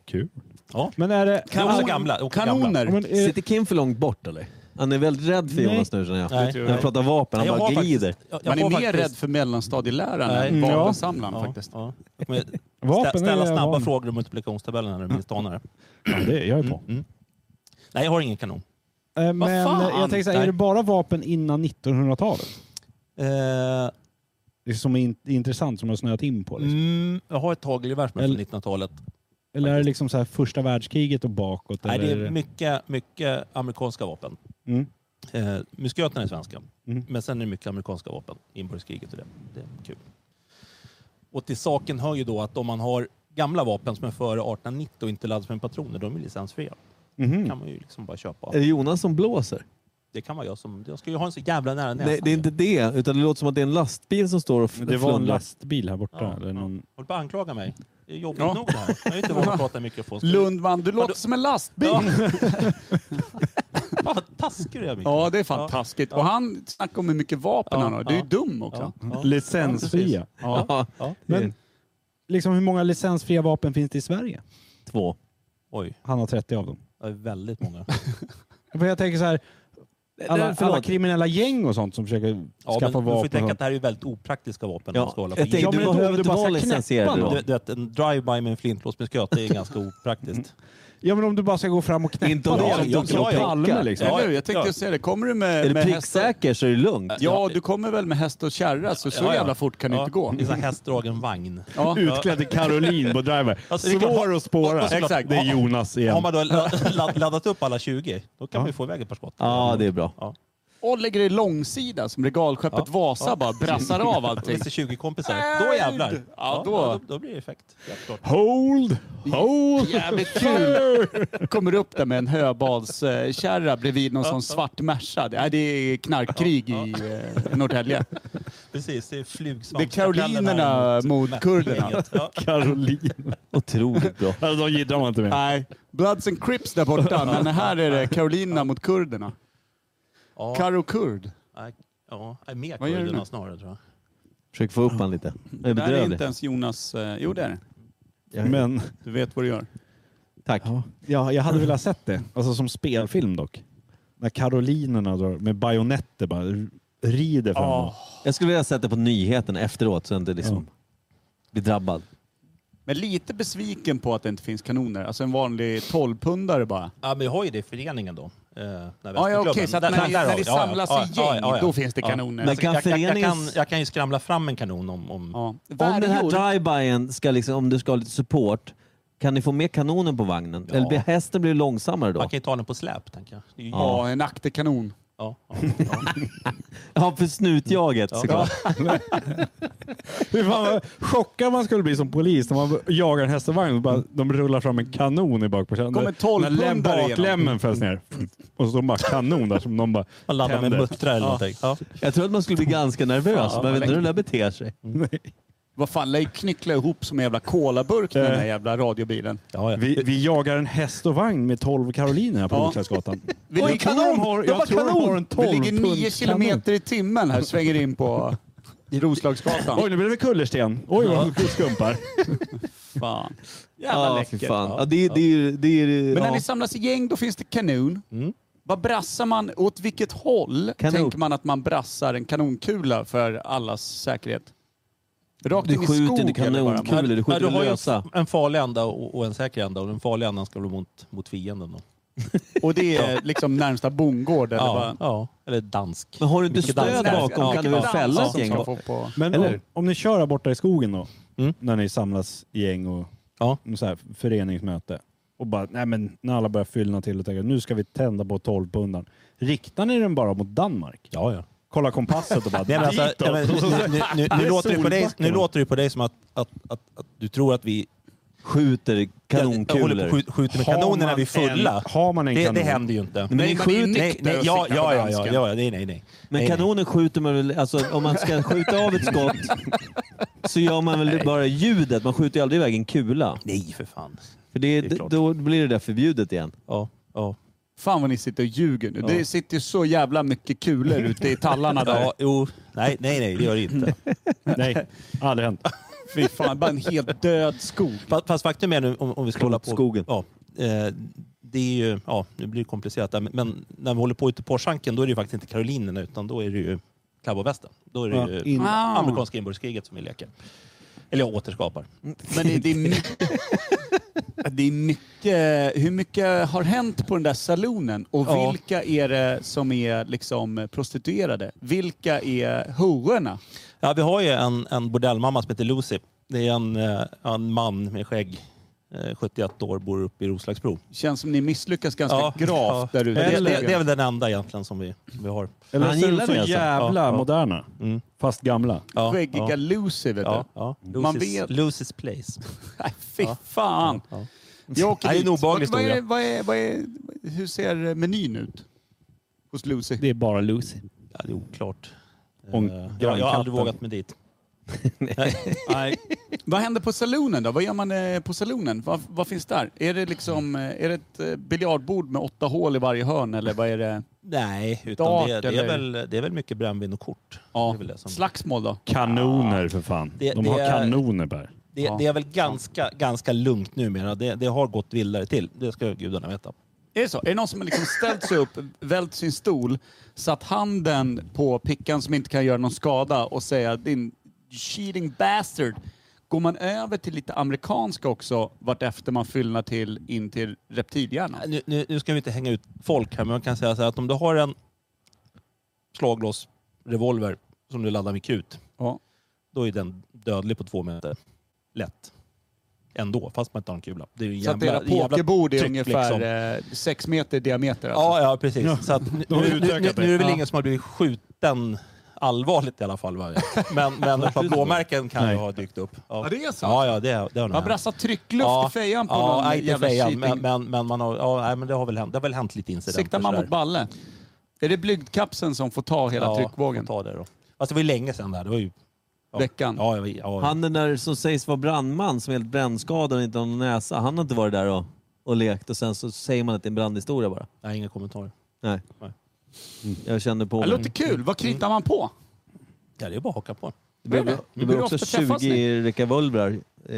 S3: Kul.
S8: Ja.
S3: Men är det...
S8: Kanon- också gamla, också
S6: kanoner.
S3: Ja, men, eh,
S2: Sitter Kim för långt bort eller? Han är väldigt rädd för
S3: Nej.
S2: Jonas nu känner jag.
S8: Nej.
S2: När han pratar vapen, han
S8: Jag
S2: bara
S8: har
S2: glider.
S8: faktiskt- jag- jag
S6: Man är
S8: har
S6: mer
S8: faktiskt-
S6: rädd för mellanstadieläraren
S8: Nej.
S6: än
S3: Ja.
S6: vapensamlaren faktiskt.
S8: Ja. Jag kommer stä-
S3: Vapen är
S8: ställa
S3: det
S8: snabba
S3: van-
S8: frågor Mm. om multiplikationstabellen när du minst anar det.
S3: Ja, det, jag är på.
S8: Nej, jag har ingen kanon.
S3: Eh, Men
S6: fan?
S3: eh, jag tänker så här, är
S8: Nej.
S3: det bara vapen innan 1900-talet?
S8: Eh,
S3: Det är som är in, intressant, som jag har snöat in på. Liksom.
S8: mm, jag har ett hagelgevär som är från
S3: Eller-
S8: 1900-talet.
S3: Eller är det liksom så här första världskriget och bakåt?
S8: Nej, det
S3: eller?
S8: är mycket, mycket amerikanska vapen.
S3: Mm.
S8: Eh, musköterna är svenska,
S3: Mm.
S8: men sen är det mycket amerikanska vapen. Inbördeskriget och det. Det är kul. Och till saken hör ju då att om man har gamla vapen som är före 1890 och inte laddas med patroner, de är licensfria.
S3: Mhm.
S8: kan man ju liksom bara köpa.
S2: Är det Jonas som blåser?
S8: Det kan man göra som... Jag ska ju ha en så jävla nära näsan.
S2: Nej, det är inte det. Utan det låter som att det är en lastbil som står och f-
S3: Men Det var en
S2: flundrar.
S3: lastbil här borta.
S8: Ja,
S3: eller någon...
S8: Håll på att anklaga mig. Det är jobbigt
S6: Ja.
S8: nog det här. Jag är inte van att prata i mikrofon. Ska-
S6: Lundman, du låter som en lastbil.
S8: Ja.
S6: Ja,
S8: Fan, vad taskig du är Mikael.
S6: det är fan taskigt. Och han snackar om hur mycket vapen
S8: Ja,
S6: han har. Du är ju
S8: ja.
S6: dum också.
S8: Ja.
S3: Licensfria.
S8: Ja.
S2: Ja,
S8: Ja.
S3: Men liksom, hur många licensfria vapen finns det i Sverige?
S2: två.
S8: Oj,
S3: Han har 30 av dem.
S8: det är väldigt många.
S3: För jag tänker så här, alla,
S2: Nej, förlåt.
S3: alla kriminella gäng och sånt som försöker
S8: Ja, men
S3: skaffa
S8: du får ju
S3: vapen.
S8: tänka
S3: och
S8: att det här är ju väldigt opraktiska vapen. man
S2: Ja,
S8: ska hålla
S2: jag
S8: på.
S2: tänkte,
S3: Ja, men
S2: du
S3: då-
S2: behöver
S3: du
S2: inte
S3: bara
S2: vara
S3: ska knäppa
S2: licensierad.
S3: någon.
S2: då.
S8: Du, du vet, en drive-by med en flintlås med sköt, det är ganska opraktiskt.
S3: sånt. Ja, men om du bara ska gå fram och knäppa
S2: Inte om
S8: Ja,
S2: du
S3: någon.
S2: är
S8: ja,
S2: en Dr.
S8: ja, ja.
S2: Palme liksom.
S8: Ja,
S6: Eller hur? Jag tänkte
S8: ja.
S6: säga det. Kommer du med,
S2: Är du
S6: med häst och,
S2: pricksäker så är det lugnt.
S6: Ja, du kommer väl med häst och kärra så, så
S8: Ja, ja.
S6: jävla fort kan du
S8: Ja,
S6: inte gå.
S8: Det är så här hästdragen vagn.
S6: Ja.
S3: Utklädd till Caroline på Driver.
S8: Alltså, det är klart-
S3: Svår att spåra.
S8: och- och såklart-
S3: Exakt. Det är Jonas igen.
S8: Har man då la- la- laddat upp alla 20, då kan man ju få iväg ett par skott.
S2: Ja, det är bra.
S6: Och lägger dig långsida som regalskeppet Vasa bara brassar av allting.
S8: Finns det 20 kompisar, då jävlar.
S6: Ja, då.
S8: Äh, då, blir det effekt. Helt klart.
S3: Hold! Hold!
S6: Jävligt kul! Kommer upp där med en höbadskärra bredvid någon sån svart Merca. Det- Nej, det är knarkkrig i eh, Norrtälje.
S8: Precis, det är flugsvamp.
S6: Det är karolinerna mot kurderna.
S8: Ja.
S3: Caroline.
S2: Otroligt bra.
S3: Alltså, de gillar man inte med.
S6: Nej, Bloods and Crips där borta, men här är det karolinerna mot kurderna.
S8: Ja,
S6: Karo kurd.
S8: nej, ja, nej, mer
S6: Vad gör du
S8: kurderna
S6: nu?
S8: snarare tror jag.
S2: Försök få upp han lite. Det är
S6: Det här är
S2: bedrövligt.
S6: inte ens Jonas... eh, Jo, det är det.
S2: Ja,
S3: Men
S6: Du vet vad du gör.
S2: Tack.
S3: ja, jag hade velat sett det. Alltså som spelfilm dock. När Karolinerna drar med bajonetter bara r- rider fram.
S6: Ja.
S2: Jag skulle vilja sätta på nyheten efteråt så jag inte liksom blir drabbad.
S6: Men lite besviken på att det inte finns kanoner. Alltså en vanlig 12-pundare bara.
S8: Ja, men jag har ju det i föreningen då. Eh, när
S6: Ja, ja
S8: Västerklubben-
S6: okej, så att
S8: Där-
S6: när,
S8: därav.
S6: när det
S8: Ja, ja,
S6: samlas
S8: ja,
S6: i
S8: ja,
S6: gäng,
S8: ja, ja.
S6: då finns det
S8: Ja.
S6: kanoner. Alltså,
S2: Men kan
S8: Alltså, jag, jag, jag, kan,
S2: föreningens...
S8: jag kan ju skramla fram en kanon om... om
S6: Ja.
S2: Om
S6: Varje
S2: den här
S6: år-
S2: drive-byen ska liksom, om du ska ha lite support, kan ni få med kanonen på vagnen? Eller blir hästen blir långsammare då?
S8: Man kan ju ta den på släp, tänker jag. Det är ju
S6: Ja, en akterkanon.
S8: Ja, ja, ja.
S2: Ja, för snutjaget såklart.
S3: Hur fan vad chockad man skulle bli som polis när man jagar en häst och vagn och bara, de rullar fram en kanon i bakpåkärran.
S6: Kommer
S3: När-
S6: tolv
S3: när läm-
S6: pundare igenom.
S3: Baklämmen fälls ner. Och så står bara kanon där som de bara
S8: Man laddar med
S3: tänder.
S8: muttrar eller någonting. Ja.
S2: Jag tror att man skulle bli ganska nervös. Man vet inte hur det där beter sig.
S6: Vad fan, lär ju knyckla ihop som en jävla kolaburk med den här jävla radiobilen.
S8: Ja, ja.
S3: Vi, vi jagar en häst och vagn med 12 Karoliner här på
S6: Ja.
S3: Niklasgatan.
S6: Vi
S3: Jag
S6: ligger-
S3: tror de har-
S6: Det
S3: jag
S6: var
S3: tror de
S6: kanon!
S3: har en
S6: Vi ligger
S3: 12-punktskanon.
S6: 9 kilometer i timmen här, svänger in på Roslagsgatan.
S3: Oj, nu blev det kullersten. Oj, vad de skumpar.
S6: Fan.
S2: Ja,
S8: läckert.
S2: fy fan.
S8: Ja.
S2: Ja, det, är- det, är- det, är-
S6: Men när
S2: ja.
S6: ni samlas i gäng, då finns det kanon. Vad brassar man? Åt vilket håll
S2: Kanon.
S6: tänker man att man brassar en kanonkula för allas säkerhet? Rakt
S2: Du
S6: in i
S2: skjuter
S6: skogen
S2: inte
S6: eller bara?
S2: kanonkul. Kul, det skjuter
S8: Ja, du har ju
S2: lösa.
S8: en, en farlig ända och, och en säker ända. Och den farliga ändan ska bli mot, mot fienden. Då.
S6: Och det är liksom närmsta bondgård? Eller
S8: Ja,
S6: bara...
S8: ja, eller dansk.
S2: Men har du inte
S8: Mycket
S2: stöd
S8: danskar.
S2: bakom
S8: Ja,
S2: kan du väl
S8: mycket
S2: fälla ett
S8: danskar
S2: gäng?
S8: som
S2: då?
S6: Får på...
S3: Men
S2: Eller
S3: om,
S2: hur?
S3: om ni kör här borta i skogen då,
S8: Mm.
S3: när ni samlas i gäng och
S8: Ja.
S3: någon så här föreningsmöte och bara, nej men när alla börjar fyllna till och tänker nu ska vi tända på 12 pundaren. Riktar ni den bara mot Danmark?
S8: Ja, ja.
S3: Kolla kompasset och bara,
S8: Nej, men alltså,
S3: ditåt.
S8: ja, men, nu, nu, nu,
S3: Det
S8: nu,
S3: är
S8: låter det på dig,
S3: Solbacken.
S8: nu låter det på dig som att, att, att, att du tror att vi
S2: Skjuter
S8: Jag håller på och
S2: kanonkulor.
S8: skjut- skjuter med
S3: Har
S8: kanoner när
S3: man
S8: vi är fulla.
S3: En, har man en
S8: Det,
S3: kanon?
S8: det händer ju inte.
S2: men ni
S6: men det är
S2: skjuter-
S8: Nej,
S6: nykter
S8: nej,
S6: att
S8: ja,
S6: sikta på
S8: ja, ja, ja,
S6: dansken.
S8: ja, ja, nej, nej, nej.
S2: Men
S8: nej,
S2: kanonen skjuter man väl... Alltså om man ska skjuta av ett skott så gör man väl bara ljudet. Man skjuter ju aldrig iväg en kula.
S8: nej. Nej, för fan.
S2: För det,
S8: Det är klart.
S2: då blir det där förbjudet igen.
S8: Ja, ja.
S6: Fan vad ni sitter och ljuger nu. Det sitter ju så jävla mycket kulor ute i tallarna där.
S8: ja jo. Nej, nej, nej, det gör det inte.
S3: Nej, aldrig hänt.
S6: Fy fan, bara en helt död skog.
S8: Fast, fast faktum är nu, om, om vi ska hålla på...
S2: Skogen.
S8: Ja, eh, det är ju... Ja, nu blir det komplicerat där, men, men när vi håller på ute på Porschanken då är det ju faktiskt inte Karolinerna utan då är det ju cowboyvästen. Då är det
S3: Ja,
S8: ju
S3: in-
S6: Ah.
S8: amerikanska inbördeskriget som vi leker. Eller jag återskapar.
S6: Men det, det, är mycket, det är mycket... Hur mycket har hänt på den där salonen? Och
S8: Ja.
S6: vilka är det som är liksom prostituerade? Vilka är hoerna?
S8: Ja, vi har ju en, en bordellmamma som heter Lucy. Det är en, eh, en man med skägg, eh, 71 år, bor uppe i Roslagsbro.
S6: Känns som ni misslyckas ganska
S8: ja.
S6: gravt där
S8: Men
S6: ute.
S8: Det, det, det är väl den enda egentligen som vi, vi har.
S3: Eller
S2: Han
S3: så är
S2: gillar
S3: de så
S2: det alltså.
S3: jävla
S8: Ja, ja.
S3: moderna,
S8: Mm.
S3: fast gamla.
S8: Ja,
S6: Skäggiga
S8: ja,
S6: Lucy, vet
S8: ja,
S6: du.
S8: ja.
S6: Man
S8: Lucy's,
S6: vet.
S8: Lucy's place.
S6: Nej, fy fan.
S8: Ja.
S6: Jag åker
S8: Det är en
S6: dit.
S8: obehaglig
S6: Vad- vad är-
S8: historia.
S6: vad är- vad är- Hur ser menyn ut? Hos Lucy?
S3: Det är bara Lucy.
S8: Ja, det är oklart.
S3: Om
S8: Eh, jag, jag har aldrig
S3: grannkatten.
S8: vågat mig dit.
S6: Nej. Vad händer på salonen då? Vad gör man eh, på salonen? Vad, vad finns där? Är det liksom eh, är det ett eh, biljardbord med åtta hål i varje hörn eller vad är det?
S8: Nej, utan
S6: Dart
S8: det, det,
S6: eller-
S8: är väl, det är väl mycket brännvin och kort. Det,
S6: Ja.
S8: är väl det, som,
S6: Slagsmål då?
S3: Kanoner för fan.
S8: Det-
S3: de
S8: det
S3: har
S8: är-
S3: kanoner Per.
S8: det,
S6: Ja.
S8: det är väl ganska, ganska lugnt numera. Det, det har gått vildare till. Det ska gudarna veta.
S6: Är det så? Är det någon som har liksom ställt sig upp, vält sin stol, satt handen på pickan som inte kan göra någon skada och säga din cheating bastard. Går man över till lite amerikanska också vartefter man fyllnar till in till reptilhjärnan?
S8: Nu, nu, nu ska vi inte hänga ut folk här, men man kan säga så här att om du har en slaglåsrevolver som du laddar med krut,
S6: Ja.
S8: då är den dödlig på två meter. Lätt. Ändå, fast man inte har en kula. Det är ju en
S6: Så att
S8: jävla-
S6: era
S8: det är jävla
S6: pokerbord är
S8: tryck,
S6: ungefär
S8: liksom.
S6: eh, sex meter i diameter? Alltså.
S8: Ja, ja precis. Så att, nu,
S3: de har
S8: nu, nu,
S3: utökat det.
S8: nu är det väl
S6: Ja.
S8: ingen som har blivit skjuten allvarligt i alla fall. va? Men, men ett par blåmärken kan ju ha dykt upp. Ja,
S6: det är så?
S8: Ja, ja det, det har nog
S6: Man
S8: hänt.
S6: brassar tryckluft i fejan på någon
S8: nej, inte
S6: jävla
S8: fejan,
S6: cheating.
S8: men, men, men, man har, ja, nej, men det har väl hänt, det har väl hänt lite incidenter.
S6: Siktar man
S8: sådär.
S6: mot balle? Är det blygdkapseln som får ta hela
S8: Ja,
S6: tryckvågen?
S8: får Ta det då. Fast det var ju länge sedan där. Det var ju... Ja.
S6: Veckan?
S8: Ja, ja, ja.
S2: Han den där som sägs vara brandman som är helt brännskadad och inte har någon näsa. Han har inte varit där och, och lekt och sen så säger man att det är en brandhistoria bara.
S8: Nej, inga kommentarer.
S2: Nej.
S8: Nej.
S2: Jag kände på
S6: Det
S2: mig.
S6: låter kul. Vad kritar man på?
S8: Ja, det är bara att haka på.
S2: Det blev,
S6: Hur är det?
S2: det blev
S6: Hur
S2: också
S6: ofta träffas
S2: 20 revolvrar. Eh,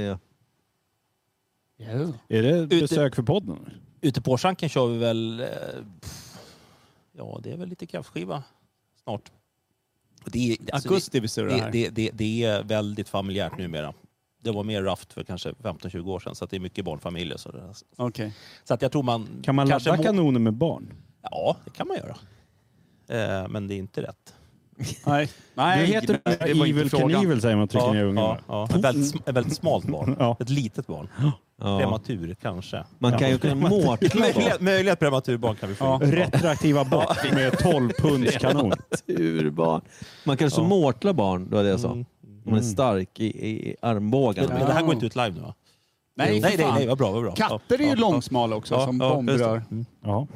S3: Är det besök för podden?
S8: Ute på Årsanken kör vi väl... Eh, pff, ja, det är väl lite kräftskiva snart. Och Det, är- alltså,
S6: Augusti vi
S8: det,
S6: surrar
S8: det,
S6: här.
S8: det, det, det är väldigt familjärt numera. Det var mer raft för kanske 15-20 år sedan, så att det är mycket barnfamiljer. Så, det,
S6: Okej.
S8: så att jag tror man...
S3: Kan man
S8: kanske
S3: ladda
S8: må-
S3: kanoner med barn?
S8: Ja, det kan man göra. Eh, men det är inte rätt.
S6: Nej.
S3: Det
S6: Nej.
S3: heter
S6: det var inte
S3: Evil
S6: frågan.
S3: Knievel säger man trycker
S8: ja,
S3: ner ungen.
S8: ja,
S3: va?
S8: ja. Ett, väldigt, sm- ett väldigt smalt barn.
S3: Ja.
S8: Ett litet barn.
S2: ja.
S8: Prematur kanske.
S2: Man kan ju kunna mårtla
S8: Möjliga, möjliga prematurbarn kan vi få. in.
S3: Retroaktiva bort med 12 punds kanon.
S2: barn. Man kanske
S8: Ja.
S2: mårtla barn, det var det jag sa.
S8: Mm.
S2: Om man är stark i, i, i armbågarna.
S8: Men, men det här går inte ut live nu va?
S6: Nej,
S8: nej,
S6: för
S8: nej,
S6: fan.
S8: nej, vad bra, vad bra.
S6: Katter är ju långsmala också som bombrör.
S3: Ja.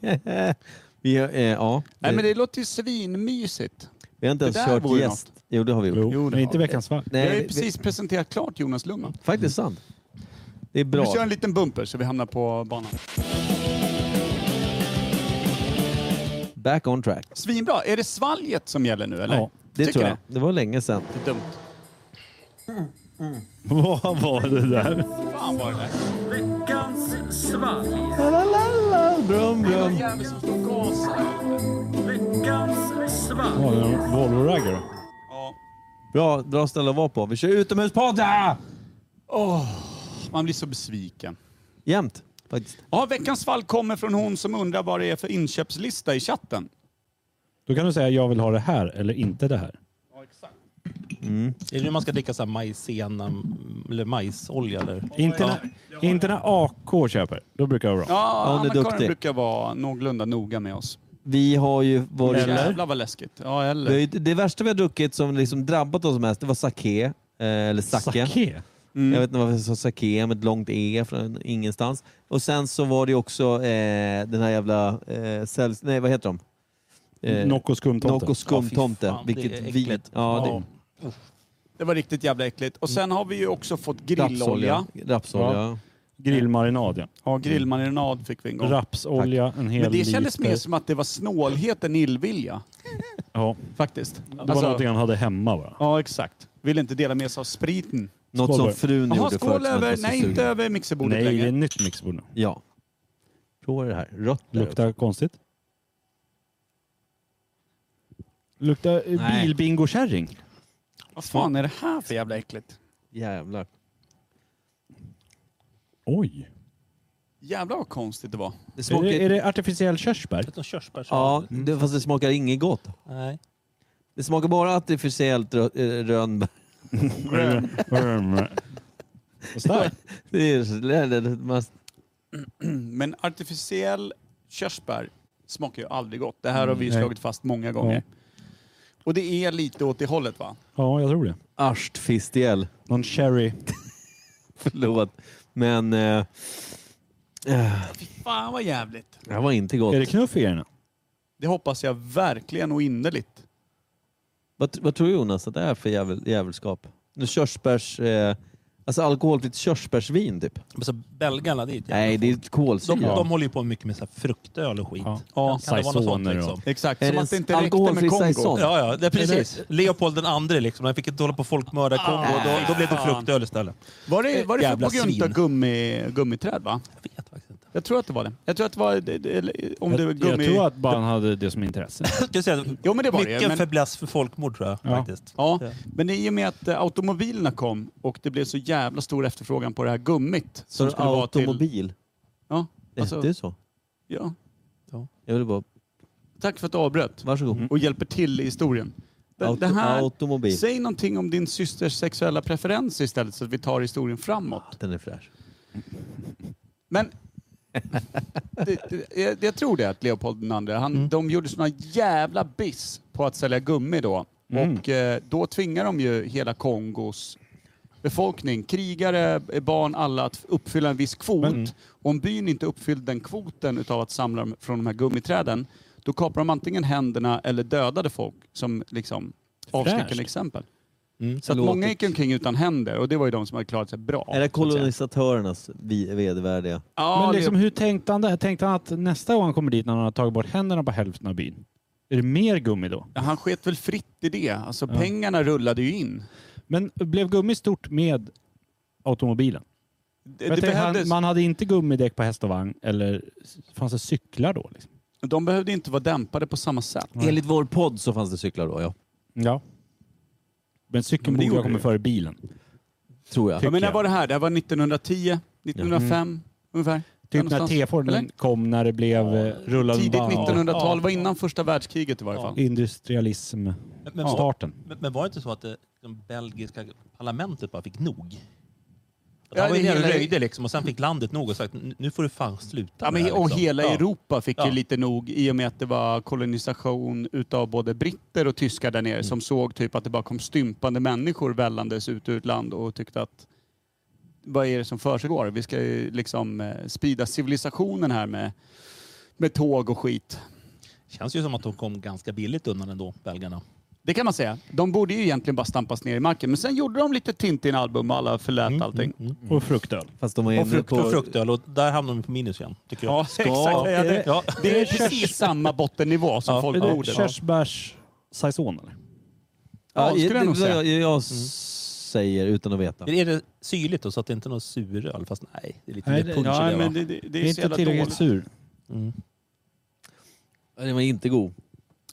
S2: Vi, eh, ja,
S6: Nej men det låter ju svinmysigt.
S2: Vi har inte ens
S6: där
S2: kört
S6: vore
S2: gäst. Jo, det har vi gjort.
S6: Jo,
S3: Jo,
S6: det
S3: men
S6: har
S3: inte
S6: vi.
S3: veckans svart.
S6: Vi har
S2: Nej,
S6: ju
S2: vi,
S6: precis presenterat klart Jonas Lundman.
S2: vi, faktiskt sant. Det
S6: Vi
S2: är bra.
S6: kör en liten bumper så vi hamnar på banan.
S2: Back on track.
S6: Svinbra. Är det svalget som gäller nu eller?
S3: Ja,
S2: Det
S6: Tycker
S2: tror jag.
S6: ni?
S2: Det var länge sedan.
S6: Det är dumt.
S3: Vad var det där?
S8: Fan var det där?
S1: Veckans svalg.
S2: Brum, brum.
S8: Jävel som står och gasar.
S1: Veckans svalg.
S3: Var det en Volvo-raggar då?
S2: Bra, bra ställe att vara på. Vi kör utomhuspodd! ah!
S6: Man blir så besviken.
S2: Jämt, faktiskt.
S6: Ja, veckans svalg kommer från hon som undrar vad det är för inköpslista i chatten.
S3: Då kan du säga jag vill ha det här eller inte det här.
S8: Är det nu man ska dricka så här majsena eller majsolja? Eller?
S3: Inte när, inte när AK köper. Då brukar det vara bra.
S6: Ja,
S2: hon är
S6: Anna-Karin
S2: duktig.
S6: brukar vara någorlunda noga med oss.
S2: Vi har ju varit...
S6: Jävlar vad läskigt. Ja, eller?
S2: Vi har ju- Det värsta vi har druckit som liksom drabbat oss mest, det var sake. eh, Eller sake.
S3: Sake.
S2: Jag vet inte varför jag sa sake med ett långt e från ingenstans. Och sen så var det ju också eh, den här jävla... Eh, säls- nej, vad heter de? Eh,
S3: Nocco skumtomte.
S2: Nocco skumtomte.
S8: Ja, fy fan,
S2: vilket
S8: det är
S2: vin.
S8: äckligt.
S2: Ja,
S6: Det var riktigt jävla äckligt. Och sen har vi ju också fått
S2: det,
S6: grillolja.
S2: rapsolja. Rapsolja.
S3: Grillmarinad ja.
S6: Ja, grillmarinad fick vi en gång.
S3: Rapsolja, en hel
S6: Men det
S3: liter.
S6: kändes mer som att det var snålhet än illvilja.
S3: Ja,
S6: Faktiskt. Alltså,
S3: det var någonting han hade hemma bara.
S6: ja, exakt. Vill inte dela med sig av spriten.
S2: Något
S3: Skål
S2: som
S3: bara.
S2: frun
S6: Jaha,
S2: gjorde förut.
S6: skål
S2: som jag
S6: över...
S2: var så
S6: Nej,
S2: sugen
S6: inte
S2: på.
S6: över mixerbordet
S3: Nej, det
S6: längre.
S3: är nytt mixerbord nu.
S2: Ja. Prova det här. Rött där också.
S3: Luktar konstigt. Luktar
S2: Nej.
S3: bilbingo-kärring.
S6: Vad fan är det här för jävla äckligt?
S2: Jävlar.
S3: Oj.
S6: Jävlar vad konstigt det var.
S2: Det
S3: Är
S2: smakar...
S3: det, är det artificiell körsbär?
S8: Vet du, körsbärs?
S2: Ja,
S8: Mm.
S2: det, fast det smakar inget gott.
S8: Nej.
S2: Det smakar bara artificiellt rö- eh, rönnbär.
S3: Vad starkt.
S2: Det är så- det är- det är- man-
S6: Mm, Men artificiell körsbär smakar ju aldrig gott. Det här har vi ju
S3: Mm, Nej.
S6: slagit fast många gånger. Och det är lite åt det hållet va?
S3: Ja, jag tror det.
S2: Arstfistiel.
S3: Någon cherry.
S2: Förlåt. Men eh,
S6: Fy fan vad jävligt.
S2: det här var inte gott.
S3: Är det knuff i den?
S6: Det hoppas jag verkligen och innerligt.
S2: Vad, vad tror du Jonas att det är för jävel, jävelskap? Nu körsbärs... Eh, alltså alkoholfritt körsbärsvin typ.
S8: Alltså, belgarna, det är ett jävla
S2: Nej, det är kolsyra.
S8: De, de håller ju på mycket med så här fruktöl och skit.
S3: Ja.
S8: Kan- kan det vara något sånt,
S3: Saisoner och-
S8: liksom?
S6: Exakt,
S2: Är
S6: som
S2: det
S6: att det
S2: en
S6: inte räckte med
S2: alkoholfri
S6: Kongo.
S2: saison?
S6: Ja.
S8: Ja, ja, det, precis. Ah, Leopold den andre liksom. Han fick inte hålla på och folkmörda Kongo. Då, då blev det fruktöl istället.
S6: Var det, var det för
S8: Jävla
S6: på grund av
S8: svin.
S6: gummi, gummiträd va?
S8: Jag vet faktiskt inte.
S6: Jag tror att det var det. Jag tror att det var... Det, det, eller om det var
S3: Jag,
S6: gummi...
S3: jag tror att bara han hade det som intresse.
S8: Ska jag säga,
S6: Jo, men det var det,
S8: mycket
S6: men-
S8: fäbless för folkmord tror jag
S3: Ja.
S8: faktiskt.
S6: Ja, men i och med att eh, automobilerna kom och det blev så jävla stor efterfrågan på det här gummit.
S2: Så
S6: Som skulle vara till...
S2: automobil.
S6: Ja,
S2: Det
S6: alltså-
S2: hette ju så.
S6: ja.
S2: Jag ville bara...
S6: Tack för att du avbröt
S2: Varsågod.
S6: och hjälper till i historien. Det,
S2: Auto,
S6: det här,
S2: Automobil.
S6: säg någonting om din systers sexuella preferens istället så att vi tar historien framåt.
S2: Den är fräsch.
S6: Men det, det, jag, jag tror det att Leopold den andra, han, de gjorde såna jävla biss på att sälja gummi då. Och eh, då tvingar de ju hela Kongos befolkning, krigare, eh, barn, alla att uppfylla en viss kvot. Om byn inte uppfyllde den kvoten utav att samla dem från de här gummiträden, då kapade de antingen händerna eller dödade folk som liksom avskräckande exempel. Så att många gick omkring utan händer och det var ju de som hade klarat sig bra. så att
S2: Är det
S6: säga.
S2: kolonisatörernas vi- vedervärdiga?
S6: Ja,
S3: Men
S6: det-
S3: liksom, hur tänkte han där? Tänkte han att nästa gång han kommer dit när han har tagit bort händerna på hälften av byn? Är det mer gummi då?
S6: Ja, Han sket väl fritt i det. Alltså pengarna rullade ju in.
S3: Men blev gummi stort med automobilen?
S6: Det,
S3: Jag
S6: det
S3: tänker, han,
S6: behövdes,
S3: man hade inte gummidäck på häst och vagn eller fanns det cyklar då? Liksom?
S6: De behövde inte vara dämpade på samma sätt.
S2: Enligt vår podd så fanns det cyklar då, ja.
S3: Ja. Men cykeln borde ha kommit före bilen. Typ
S2: Tror jag.
S6: Ja, men när
S3: jag. Mm.
S6: var det här? Det här var 1910, 1905 ungefär. Där
S3: Typ när
S6: någonstans. Eller?
S3: T-Forden kom när det blev eh, rullade
S6: Tidigt
S3: band.
S6: 1900-tal,
S8: Ja.
S6: var innan första världskriget i varje fall.
S3: Industrialism.
S8: Men, men, var,
S3: Starten.
S8: men, men var det inte så att det, de belgiska parlamentet bara fick nog?
S6: Ja,
S8: Ja, han var
S6: det
S8: ju nere och
S6: hela-
S8: röjde liksom och sen fick landet nog och sagt "Nu- nu får du fan sluta
S6: Ja,
S8: med
S6: men,
S8: det här",
S6: och
S8: liksom.
S6: hela
S8: Ja.
S6: Europa fick ju
S8: Ja.
S6: lite nog i och med att det var kolonisation utav både britter och tyskar där nere som såg typ att det bara kom stympande människor vällandes ut ur ett land och tyckte att vad är det som försiggår? Vi ska ju liksom eh, sprida civilisationen här med, med tåg och skit.
S8: Känns ju som att de kom ganska billigt undan ändå, belgarna.
S6: Det kan man säga. De borde ju egentligen bara stampas ner i marken. Men sen gjorde de lite Tintin-album och alla förlät allting.
S3: Och fruktöl.
S2: Fast de var
S8: Mm. Och
S2: inne
S8: frukt,
S2: på...
S8: och fruktöl. Och där hamnar vi på minus igen, tycker jag.
S6: Ja, exakt. Ja, det,
S8: Ja.
S6: det är precis samma bottennivå som
S8: Ja,
S3: Är
S6: folk
S3: det
S6: borde.
S3: körsbärs-saison eller?
S2: Ja,
S6: Ja, skulle jag nog
S2: det-
S6: säga.
S2: jag, jag, säger utan att veta.
S8: Är det syrligt då, så att det inte är någon suröl? Fast nej, det är lite
S3: Nej,
S8: mer
S3: det-
S8: punch i
S6: Ja,
S8: det,
S6: men
S8: va?
S6: det, det, det
S3: Det
S6: är
S3: är
S6: så
S3: inte
S6: jävla
S3: tillräckligt
S6: dåligt.
S3: sur.
S2: Den var inte god.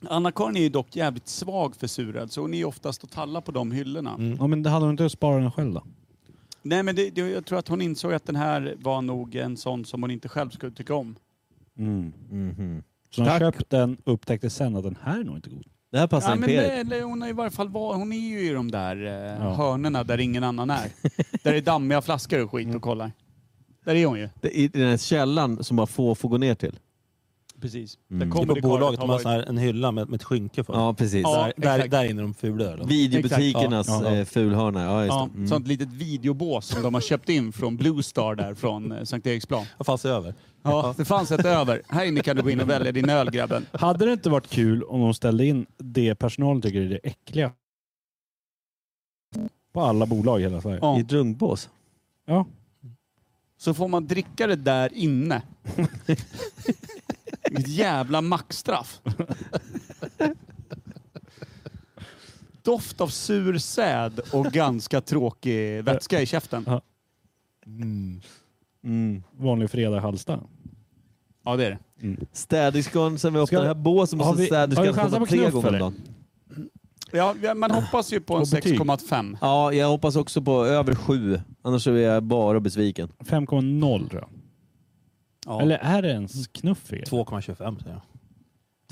S6: Anna-Karin är ju dock jävligt svag för suröl, så hon är ju oftast och tallar på de hyllorna.
S8: Mm.
S3: Ja, men det hade hon inte sparat den själv då?
S6: Nej, men det, det, jag tror att hon insåg att den här var nog en sån som hon inte själv skulle tycka om.
S3: Så hon
S2: Mhm.
S7: Tack.
S3: köpte den och upptäckte sen att den här är nog inte god.
S2: Det här passar
S6: Ja, men det,
S2: Imperiet.
S6: eller hon, har i varje fall var, hon är ju i de där eh, hörnorna där ingen annan är. där det är dammiga flaskor och skit
S8: Mm.
S6: och kollar. Där är hon ju.
S2: Det, I den här källan som bara få får gå ner till.
S6: Precis. Där
S8: Mm. Det är
S6: kommer
S8: på
S6: det
S8: bolaget,
S6: karlar
S8: de
S6: har
S8: har sån här, en hylla med, med ett skynke för.
S2: Ja, precis.
S6: Ja.
S8: där, där,
S6: exakt.
S8: där inne är de fula ölen.
S2: Videobutikernas
S3: Exakt. Ja, ja.
S2: eh, fulhörna. Ja, just
S6: Ja,
S2: det. Mm.
S6: sånt litet videobås som de har köpt in från Blue Star där från eh, Sankt Eriksplan.
S8: Vad fanns det över?
S6: Ja, det fanns ett över. Här inne kan du gå in och välja din öl grabben.
S3: Hade det inte varit kul om de ställde in det personalen tycker är det äckliga? På alla bolag i hela Sverige.
S6: Ja.
S2: I ett rundbås.
S3: Ja.
S6: Så får man dricka det där inne. Ett jävla maxstraff. Doft av sur säd och ganska tråkig vätska i käften.
S3: Vanlig fredag i Halsta.
S6: Ja, det är det.
S2: Städerskan sen vi
S3: Ska-
S2: öppnade den här båsen
S3: har
S2: måste
S3: vi- har
S2: städerskan
S3: vi chansen
S2: komma
S3: på
S2: tre
S3: knuff,
S2: gånger om
S3: eller?
S2: dagen.
S6: Ja, ja, man hoppas ju på en
S3: Och betyg.
S6: 6,5.
S2: Ja, jag hoppas också på över sju. Annars så är jag bara besviken.
S3: 5,0 tror jag.
S6: Ja.
S3: Eller är det ens knuff? i det?
S8: 2,25 säger jag.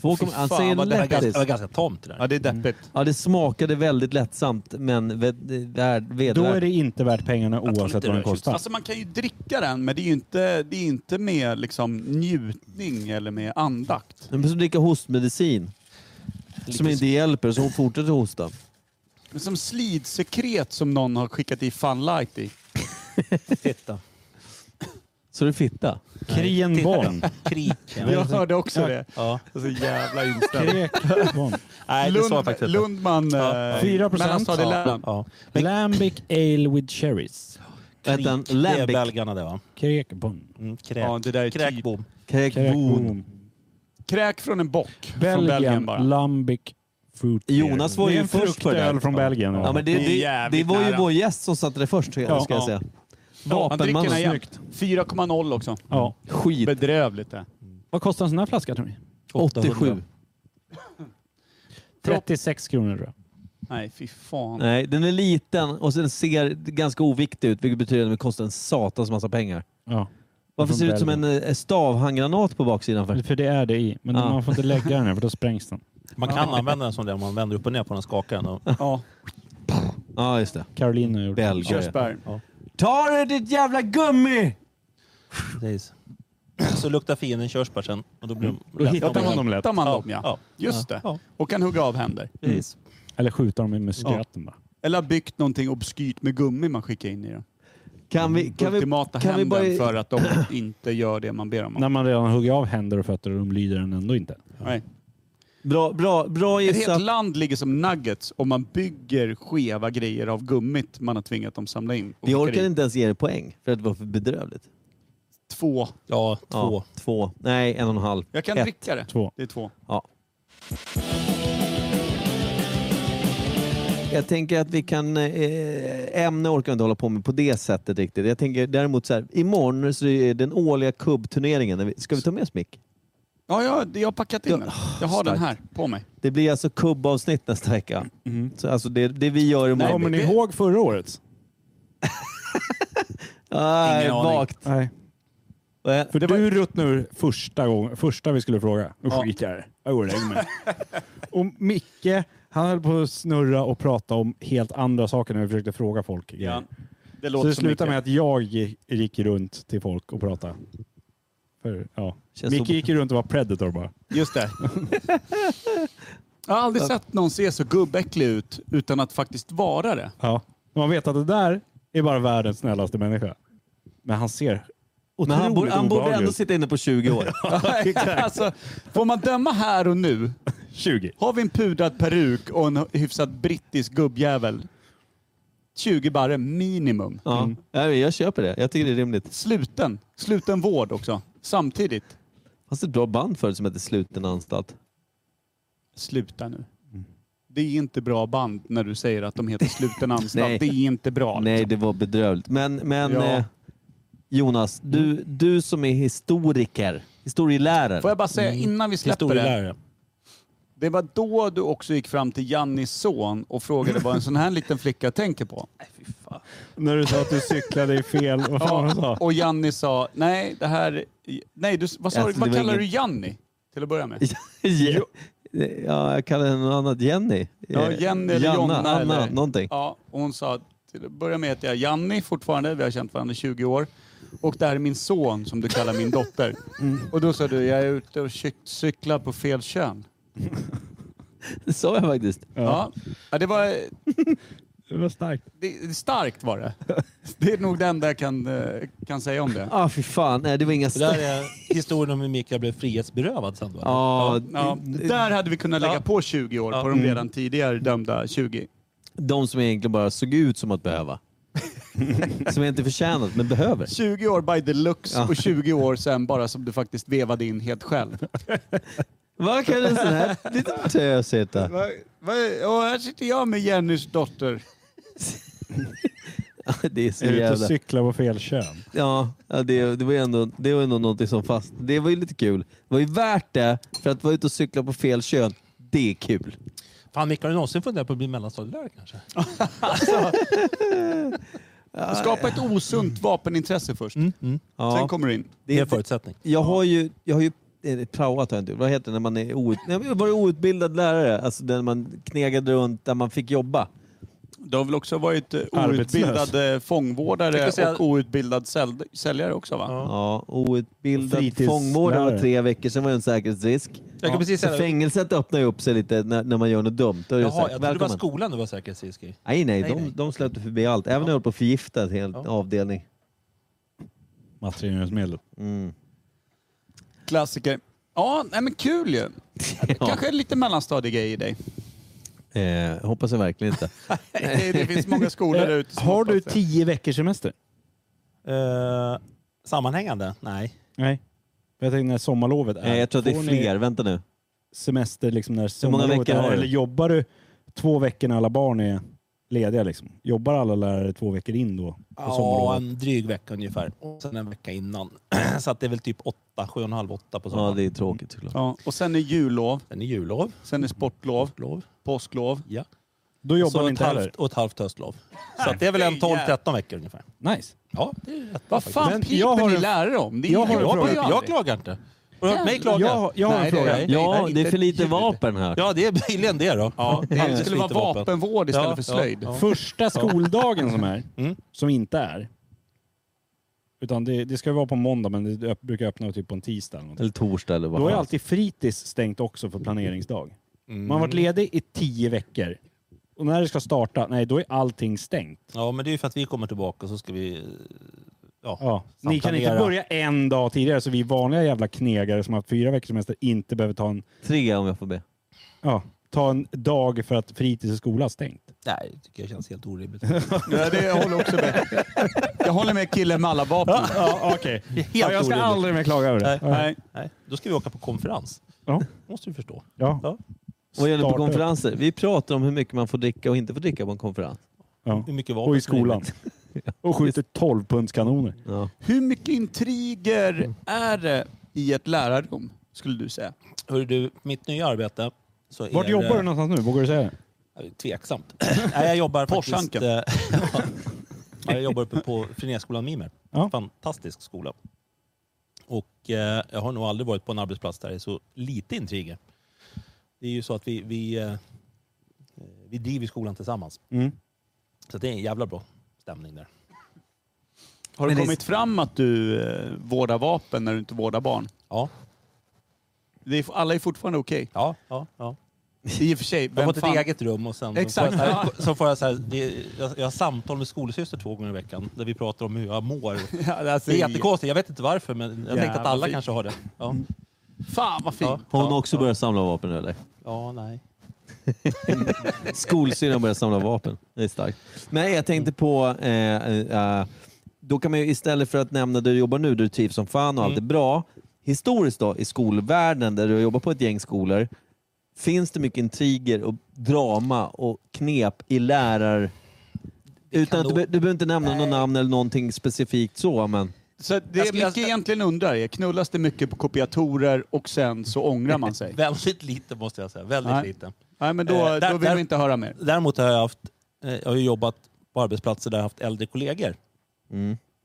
S2: Två
S6: Fy
S2: kom, han
S6: fan,
S2: säger
S6: vad det här
S8: Det var ganska,
S2: lättis.
S8: det var ganska tomt det där.
S6: Ja, det är deppigt.
S2: Ja, det smakade väldigt lättsamt, men ved- värd-
S3: Då är
S2: vedervärt.
S3: det inte värt pengarna
S8: tror
S3: oavsett
S8: inte
S3: vad den
S8: det är
S3: kostar.
S6: Alltså man kan ju dricka den, men det är ju inte, det är inte med liksom njutning eller med andakt.
S2: En person dricker hostmedicin som inte hjälper, så hon fortsätter hosta.
S6: Men som slidsekret som någon har skickat i funlight i.
S8: Titta.
S2: Så det är fitta.
S3: Krienborn.
S8: Krik.
S6: Jag hörde också det.
S8: Ja.
S6: Så jävla inställd.
S3: Krekborn.
S8: Nej, det sa jag
S6: Lund,
S8: faktiskt inte.
S6: Lundman...
S8: Ja.
S6: eh,
S3: 4 procent.
S6: mellanstadieläraren.
S8: Ja.
S3: Lambic ale with cherries.
S8: Krik,
S2: Vänta,
S8: det är
S2: Lambic.
S8: belgarna det va?
S3: Krekborn.
S8: Mm, kräk.
S6: Ja, det där är typ.
S8: Kräkbom.
S2: Kräkbom.
S3: Krekborn.
S6: Kräk från en bock. från Belgien
S3: Belgien.
S6: bara.
S3: Lambic fruit beer.
S2: Jonas var
S3: Det är
S2: ju
S3: en
S2: först på det
S3: fruktöl
S2: där.
S3: från Belgien.
S2: Ja, men det,
S6: Det är
S2: det, det
S6: jävligt
S2: var ju
S6: nära.
S2: vår gäst som satte det först, ska jag
S6: Ja.
S2: säga.
S6: Ja, han dricker
S2: Vapenmannen.
S6: den igen. 4,0 också.
S3: Ja.
S2: Skit.
S6: Bedrövligt det.
S3: Vad kostar en sån här flaska tror ni?
S2: 87.
S3: 36 kronor tror jag.
S6: Nej, fy fan.
S2: Nej, den är liten och den ser ganska oviktig ut, vilket betyder att den kostar en satans massa pengar.
S3: Ja.
S2: Varför
S3: Från
S2: ser det ut som en
S3: Belgien.
S2: eh, stavhandgranat på baksidan?
S6: Mm.
S2: För?
S3: För det är det i. Men
S2: Ja.
S3: man får inte lägga den här för då sprängs den.
S8: Man kan använda den som det om man vänder upp och ner på den och skakar den. Och
S6: Ja,
S2: Ja, just det.
S3: Caroline har gjort det.
S2: Belgare.
S6: körsbär.
S2: Ta dig ditt jävla gummi!
S8: Precis. Så luktar fienden körsbär sen. Och då blir de
S3: Då hittar
S6: Där
S3: man dem lätt.
S6: hittar man dem ja.
S8: ja.
S6: Just det.
S8: Ja.
S6: Och kan hugga av händer.
S8: Precis.
S3: Eller skjuta dem med stöten bara.
S6: Eller har byggt någonting obskyrt med gummi man skickar in i dem.
S2: Kan vi, kan vi,
S6: Ultimata
S2: kan vi
S6: hämnden
S2: bara...
S6: för att de inte gör det man ber dem om.
S3: När man redan hugger av händer och fötter och de lyder den ändå inte.
S6: Nej.
S2: Bra, bra, bra
S6: Ett helt
S2: gissat.
S6: land ligger som nuggets om man bygger skeva grejer av gummit man har tvingat dem samla in. och
S2: Vi
S6: skickar
S2: orkade
S6: in.
S2: inte ens ge er poäng för att det var för bedrövligt.
S6: Två.
S8: Ja, två.
S2: Ja, två. Nej, en och en halv.
S6: Jag kan
S2: Ett.
S6: dricka det.
S3: Två.
S6: Det är två.
S2: Ja. Jag tänker att vi kan... Eh, ämne orkar vi inte hålla på med på det sättet riktigt. Jag tänker däremot så här, imorgon så är det den årliga kubbturneringen. Ska vi ta med oss Mick?
S6: Ja, ja, det- jag har packat in
S2: Ja.
S6: den. Jag har den här på mig.
S2: Det blir alltså kubbavsnitt nästa vecka.
S8: Mm.
S2: Så alltså det, det vi gör imorgon.
S3: Kommer ni ihåg förra året?
S2: Nej,
S8: Ingen aning.
S2: vagt.
S3: Nej.
S2: Eh,
S3: För du ruttnade ur första, gång, första vi skulle fråga. Nu skiter jag i det. Jag går och lägger mig. och Micke, han höll på att snurra och prata om helt andra saker när vi försökte fråga folk.
S6: Ja. Det
S3: Så
S6: låter
S3: det
S6: som
S3: slutade
S6: mycket.
S3: med att jag gick runt till folk och pratade. För, ja.
S2: Känns
S3: Micke
S2: obekvämt.
S3: gick ju runt och var predator bara.
S6: Just det. jag har aldrig sett någon se så gubbäcklig ut utan att faktiskt vara det.
S3: Ja. Man vet att det där är bara världens snällaste människa. Men han ser
S2: Men han, borde-
S3: otroligt
S2: han borde
S3: obehaglig
S2: ändå
S3: ut.
S2: sitta inne på 20 år.
S6: alltså, får man döma här och nu
S3: 20.
S6: Har vi en pudrad peruk och en hyfsat brittisk gubbjävel, 20 barre minimum.
S2: Ja, Nej, men jag köper det. Jag tycker det är rimligt.
S6: Sluten. Sluten vård också. Samtidigt.
S2: Fanns det ett bra band förut som hette Sluten anstalt?
S6: Sluta nu.
S2: Mm.
S6: Det är inte bra band när du säger att de heter sluten
S2: Nej.
S6: anstalt. det är inte bra. liksom.
S2: Nej, det var bedrövligt. Men, men
S6: Ja. Mm.
S2: eh, Jonas, du, du som är historiker, historielärare.
S6: Får jag bara säga
S2: Mm.
S6: innan vi släpper det.
S8: Historielärare.
S6: Det var då du också gick fram till Jannis son och frågade vad en sån här liten flicka tänker på.
S3: När du sa att du cyklade i fel... Vad fan var det du sa?
S6: Och Janni sa, nej det här... Nej, du, vad, sa,
S2: Alltså,
S6: du?
S2: det
S6: vad
S2: var
S6: kallar
S2: ingen-
S6: du Janni? Till att börja med.
S2: Ja, ja, jag kallar henne något annat. Jenny?
S6: Ja,
S2: Eh,
S6: Jenny eller
S2: Janna,
S6: Jonna.
S2: Anna,
S6: eller,
S2: någonting.
S6: Ja, och hon sa, till att börja med heter jag Janni fortfarande, vi har känt varandra i 20 år. Och det här är min son som du kallar min dotter. Och då sa du, jag är ute och cy- cyklar på fel kön.
S2: Det sa jag faktiskt.
S6: Ja. ja, det var
S3: Det var starkt.
S6: det, det- starkt var det. Det är nog det enda jag kan, eh, kan säga om det.
S2: Ah, fy fan. Nej, det var inga...
S8: Det där är historien om hur Mikael blev frihetsberövad sen. Va?
S2: Ja,
S6: Ja, där hade vi kunnat lägga på 20 år på de redan tidigare dömda 20.
S2: de som egentligen bara såg ut som att behöva. som jag inte förtjänat, men behöver.
S6: 20 år by the looks
S2: Ja.
S6: och 20 år sen bara som du faktiskt vevade in helt själv.
S2: Vad kan en sån här liten tös heta?
S6: Va, va, och här sitter jag med Jennys dotter.
S2: Det är så
S3: Är du ute och
S2: jävla...
S3: cyklar på fel kön?
S2: Ja, ja, det, det var ju ändå, det var ändå någonting som fast... Det var ju lite kul. Det var ju värt det, för att vara ute och cykla på fel kön, det är kul.
S8: Fan, Mikael, har du någonsin funderat på att bli mellanstadielärare kanske?
S6: Skapa ett osunt vapenintresse först.
S3: Mm.
S6: Sen
S2: Ja,
S6: kommer du in.
S8: Det är en förutsättning.
S2: jag har ju... Jag har ju eh, praoat har jag inte gjort. Vad heter det när man är out, nej, men var det outbildad lärare? Alltså där man knegade runt, där man fick jobba.
S6: Du har väl också varit eh,
S3: Arbetslös.
S6: outbildad eh,
S8: Jag
S6: fångvårdare
S8: kan säga-
S6: och outbildad säl- säljare också va?
S8: Ja.
S2: Ja, outbildad
S3: Fritidslärare.
S2: fångvårdare var tre veckor, sen var det en säkerhetsrisk.
S8: Jag kan precis
S2: Så
S8: säga
S2: fängelset öppnar ju upp sig lite när, när man gör något dumt. Då är det så här,
S8: Jaha, jag trodde det var
S2: välkommen.
S8: skolan du var säkerhetsrisk i.
S2: Nej, nej,
S8: Nej, nej.
S2: de, de släppte förbi allt. Även när jag höll på att förgifta en hel
S8: Ja.
S2: avdelning.
S3: Mattrengöringsmedel.
S2: Mm.
S6: Klassiker. Ja, nej men kul ju. Kanske lite mellanstadiegrej i dig.
S2: Eh, hoppas jag verkligen inte.
S6: Det, det finns många skolor där ute som
S3: Eh, Har du
S6: hoppas det.
S3: tio veckors semester?
S8: Eh, sammanhängande? Nej.
S3: Nej. Jag tänkte när sommarlovet är.
S2: Eh, jag tror att det
S3: Får
S2: är
S3: ni
S2: fler. Vänta nu.
S3: semester liksom när
S2: Hur många
S3: sommarlovet
S2: veckor har
S3: är?
S2: du?
S3: Eller jobbar du två veckor när alla barn är lediga? Liksom? Jobbar alla lärare två veckor in då? På
S8: Ja,
S3: sommarlovet?
S8: en dryg vecka ungefär. Och sen en vecka innan. så att det är väl typ åtta, sju och en halv, åtta på
S2: Ja,
S8: sommaren.
S2: det är tråkigt såklart.
S6: Ja, och sen är jullov,
S8: Sen är jullov.
S6: sen är sportlov,
S8: Lov.
S6: påsklov.
S8: Ja.
S3: Då jobbar
S8: Så
S3: ni
S8: ett
S3: inte heller?
S8: halvt, och ett halvt höstlov. Så att det är väl en 12-13 veckor ungefär.
S3: Nice.
S8: Ja, det är rätt bra
S6: Vad fan
S3: Men
S6: piper
S3: jag har
S6: ni
S3: en-
S6: lärare om? Det är
S3: jag
S6: jag,
S3: har en
S8: Jag,
S3: fråga.
S8: jag, klagar inte. Har du hört mig klaga?
S3: Jag, jag har en
S6: Nej, det är
S3: fråga.
S6: jag inte.
S2: Ja,
S6: Nej,
S2: det är för lite
S6: ljud.
S2: vapen här.
S8: Ja, det är billigen det då.
S6: Ja, det,
S8: Alldeles
S6: skulle
S8: för
S6: vara
S8: lite
S6: vapenvård istället
S8: Ja,
S6: för
S8: ja,
S6: slöjd.
S8: ja.
S3: Första skoldagen som är,
S8: Mm.
S3: som inte är, utan det, det ska ju vara på måndag men det öpp- brukar öppna typ på en tisdag. Eller någonting.
S2: Eller torsdag eller vad
S3: då är
S2: fan.
S3: alltid fritids stängt också för planeringsdag.
S8: Mm.
S3: Man har varit ledig i tio veckor. Och när det ska starta, nej då är allting stängt.
S8: Ja, men det är ju för att vi kommer tillbaka så ska vi... eh, Ja.
S3: Ja. Ni kan inte
S8: samplanera.
S3: börja en dag tidigare så vi vanliga jävla knegare som har haft fyra veckors semester inte behöver ta en,
S2: Tre om jag får be.
S3: ja, ta en dag för att fritids och skola har stängt.
S8: Nej, det tycker jag känns helt orimligt.
S6: Ja, det jag håller också med. Jag håller med killen med alla vapen.
S3: Ja, okej. Ja, jag ska
S8: orimligt.
S3: aldrig mer klaga över det.
S8: Nej.
S3: Ja.
S6: Nej.
S8: Nej, då ska vi åka på konferens.
S3: Ja.
S8: måste du förstå.
S3: Ja.
S8: Ja.
S2: Vad gäller på
S3: Starta upp.
S2: konferenser? Vi pratar om hur mycket man får dricka och inte får dricka på en konferens.
S3: Ja.
S8: Hur mycket vapen
S3: Och i
S8: som är
S3: skolan. Och skjuter 12-pundskanoner.
S2: Ja.
S6: Hur mycket
S8: Mm.
S6: intriger är det i ett lärarrum, skulle du säga?
S8: Hörru du, mitt nya arbete... Så är
S3: Vart
S8: det-
S3: jobbar du någonstans nu? Vågar du säga det?
S8: Tveksamt. Nej, jag jobbar faktiskt...
S6: Porschanken.
S8: eh, ja. Ja, jag jobbar uppe på Finéskolan Mimer.
S3: Ja.
S8: Fantastisk skola. Och eh, jag har nog aldrig varit på en arbetsplats där det är så lite intriger. Det är ju så att vi, vi, eh, vi driver skolan tillsammans.
S3: Mm.
S8: Så det är en jävla bra stämning där.
S6: Har det
S2: Men det-
S6: kommit fram att du eh, vårdar vapen när du inte vårdar barn?
S8: Ja,
S6: Det är, alla är fortfarande okej.
S8: ja, ja. ja.
S6: I och för sig,
S8: Jag har
S6: vem
S8: fått ett
S6: fan...
S8: eget rum och sen
S6: Exakt.
S8: Så får jag, så här, så får jag, så här, det, jag, jag har samtal med skolsyster två gånger i veckan där vi pratar om hur jag mår.
S6: Ja, alltså,
S8: Det är jättekonstigt, jag vet inte varför men jag tänkte att
S6: Jävla
S8: alla
S6: fint.
S8: kanske har det. Ja.
S6: Fan vad fint.
S8: Ja.
S2: Har hon också börjat samla vapen eller?
S8: Ja, nej.
S2: Skolsyrran börjar samla vapen. Det är starkt. Nej, jag tänkte på... Eh, eh, då kan man ju istället för att nämna där du jobbar nu, där du trivs som fan och allt
S6: Mm.
S2: är bra. Historiskt då, i skolvärlden där du jobbar på ett gäng skolor. Finns det mycket intriger och drama och knep i lärar... Utan att du,
S8: nog-
S2: be- du behöver inte nämna något namn eller någonting specifikt så, men...
S6: Så det
S8: Jag
S6: jag
S8: skulle-
S6: Micke egentligen undrar är, knullas det mycket på kopiatorer och sen så ångrar man sig?
S8: Väldigt lite måste jag säga. Väldigt
S6: Nej.
S8: lite.
S6: Nej, men då,
S8: Eh, där-
S6: då vill
S8: där-
S6: vi inte höra mer.
S8: Däremot har jag, haft, eh, jag har ju jobbat på arbetsplatser där jag har haft äldre kollegor.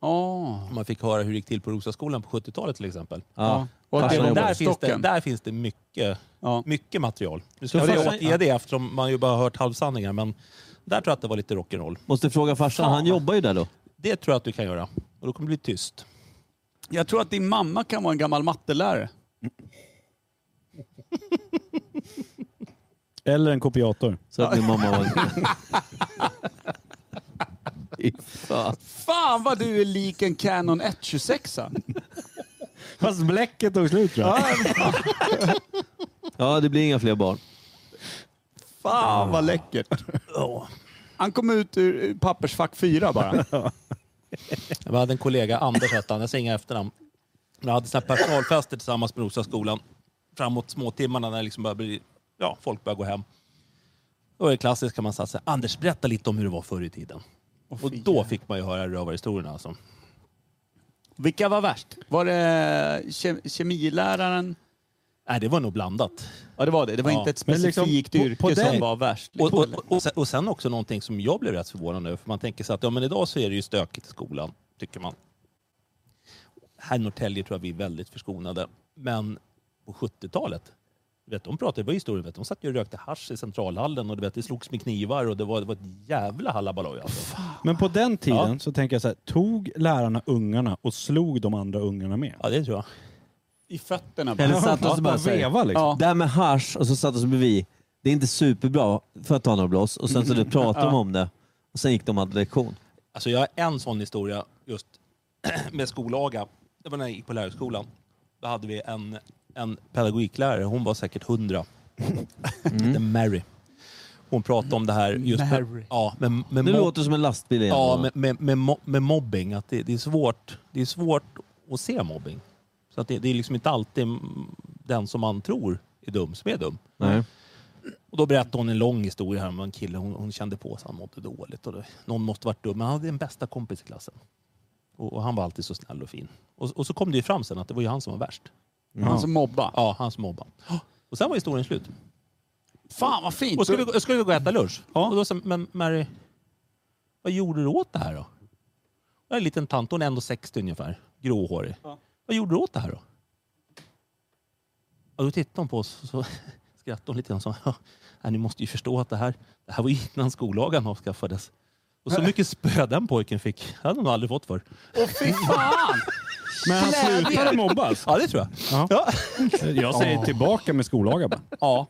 S6: Oh.
S8: Man fick höra hur det gick till på Rosaskolan på 70-talet till exempel.
S2: Ja.
S6: Och att
S2: Farsan
S6: det var
S2: jobbar.
S8: där, finns det,
S6: måttstocken.
S8: där finns det mycket,
S6: Ja.
S8: mycket material. Nu
S2: Så
S8: ska jag
S2: farsan-
S8: återge det eftersom man ju bara har hört halvsanningar, men där tror jag att det var lite rock'n'roll.
S2: Måste fråga farsan, han jobbar ju där då.
S8: Det tror jag att du kan göra. Och då kommer det bli tyst.
S6: Jag tror att din mamma kan vara en gammal mattelärare.
S3: Eller en kopiator.
S2: Så att min mamma var...
S6: Fan vad du är lik en Canon 126
S3: Fast bläcket tog slut tror jag.
S2: Ja, det blir inga fler barn.
S6: Fan vad läckert. Han kom ut ur ur pappersfack 4 bara.
S8: Jag hade en kollega, Anders hette han, jag säger inga efternamn. Jag hade såna här personalfester tillsammans med Rosaskolan. Framåt småtimmarna när det liksom börjar bli, ja, folk börjar gå hem. Då är det klassiskt kan man säga så här, Anders berätta lite om hur det var förr i tiden. Och då fick man ju höra rövarhistorierna alltså.
S6: Vilka var värst? Var det ke- kemiläraren?
S8: Nej, det var nog blandat.
S6: Ja det var det. Det var
S8: Ja.
S6: inte ett
S3: Men liksom,
S6: specifikt
S3: på-
S6: yrke
S3: på
S6: som
S3: den-
S6: var värst.
S8: Och, och, och, sen, och sen också någonting som jag blev rätt förvånad över. För man tänker så att ja, men idag så är det ju stökigt i skolan, tycker man. Här i Norrtälje tror jag vi är väldigt förskonade. Men på 70-talet, du vet, de pratade ju bara historia. du Vet, de satt ju och rökte hasch i centralhallen och du vet, det slogs med knivar och det var, det var ett jävla halabaloj. Alltså.
S3: Men på den tiden så tänker jag så här, tog lärarna ungarna och slog de andra ungarna med?
S8: Ja, det tror jag.
S6: I fötterna
S2: Eller
S6: bara.
S2: satt oss
S3: Ja,
S2: bara
S3: bara
S2: så här.
S3: veva liksom.
S6: Ja.
S2: Det här med hasch och så satt oss bredvid. Det är inte superbra för att ta några blås och sen så du pratade de om det och sen gick de och hade lektion.
S8: Alltså jag har en sån historia just med skollaga. Det var när jag gick på lärarhögskolan. Då hade vi en, en pedagogiklärare, hon var säkert hundra. Hette
S2: Mm.
S8: Mary. Hon pratade om det här just
S6: Mary.
S8: Med, ja, med, med,
S2: Nu
S8: mob-
S2: låter det som en lastbil igen.
S8: ja, med, med, med, mo- med mobbing. Att det, det, är svårt, det är svårt att se mobbing. Så att det, det är liksom inte alltid mm, den som man tror är dum som är dum.
S2: Nej.
S8: Och då berättade hon en lång historia här om en kille hon, hon kände på sig. Han mådde dåligt. Och det, någon måste varit dum. Men han hade den bästa kompis i klassen. Och, och han var alltid så snäll och fin. Och, och så kom det ju fram sen att det var ju han som var värst.
S6: Han som mobbade.
S8: Ja, han som mobbade. Och sen var historien slut.
S6: Fan vad fint.
S8: Och skulle vi, gå- skulle vi gå och äta lunch? Och då sa men Mary, vad gjorde du åt det här då? Jag är en liten tant, hon är ändå 60 ungefär, gråhårig. Vad gjorde du åt det här då? Och då tittade hon på oss och så skrattade hon lite grann och sa, "Ja, nej, ni måste ju förstå att det här, det här var ju innan skollagen avskaffades. Och så mycket spö den pojken fick, det hade han aldrig fått för.
S6: Åh fy fan!
S3: Men han slutade alltså. mobbas.
S8: Ja, det tror jag.
S3: Ja.
S8: Ja.
S3: Jag säger tillbaka med skollagar bara.
S8: ja.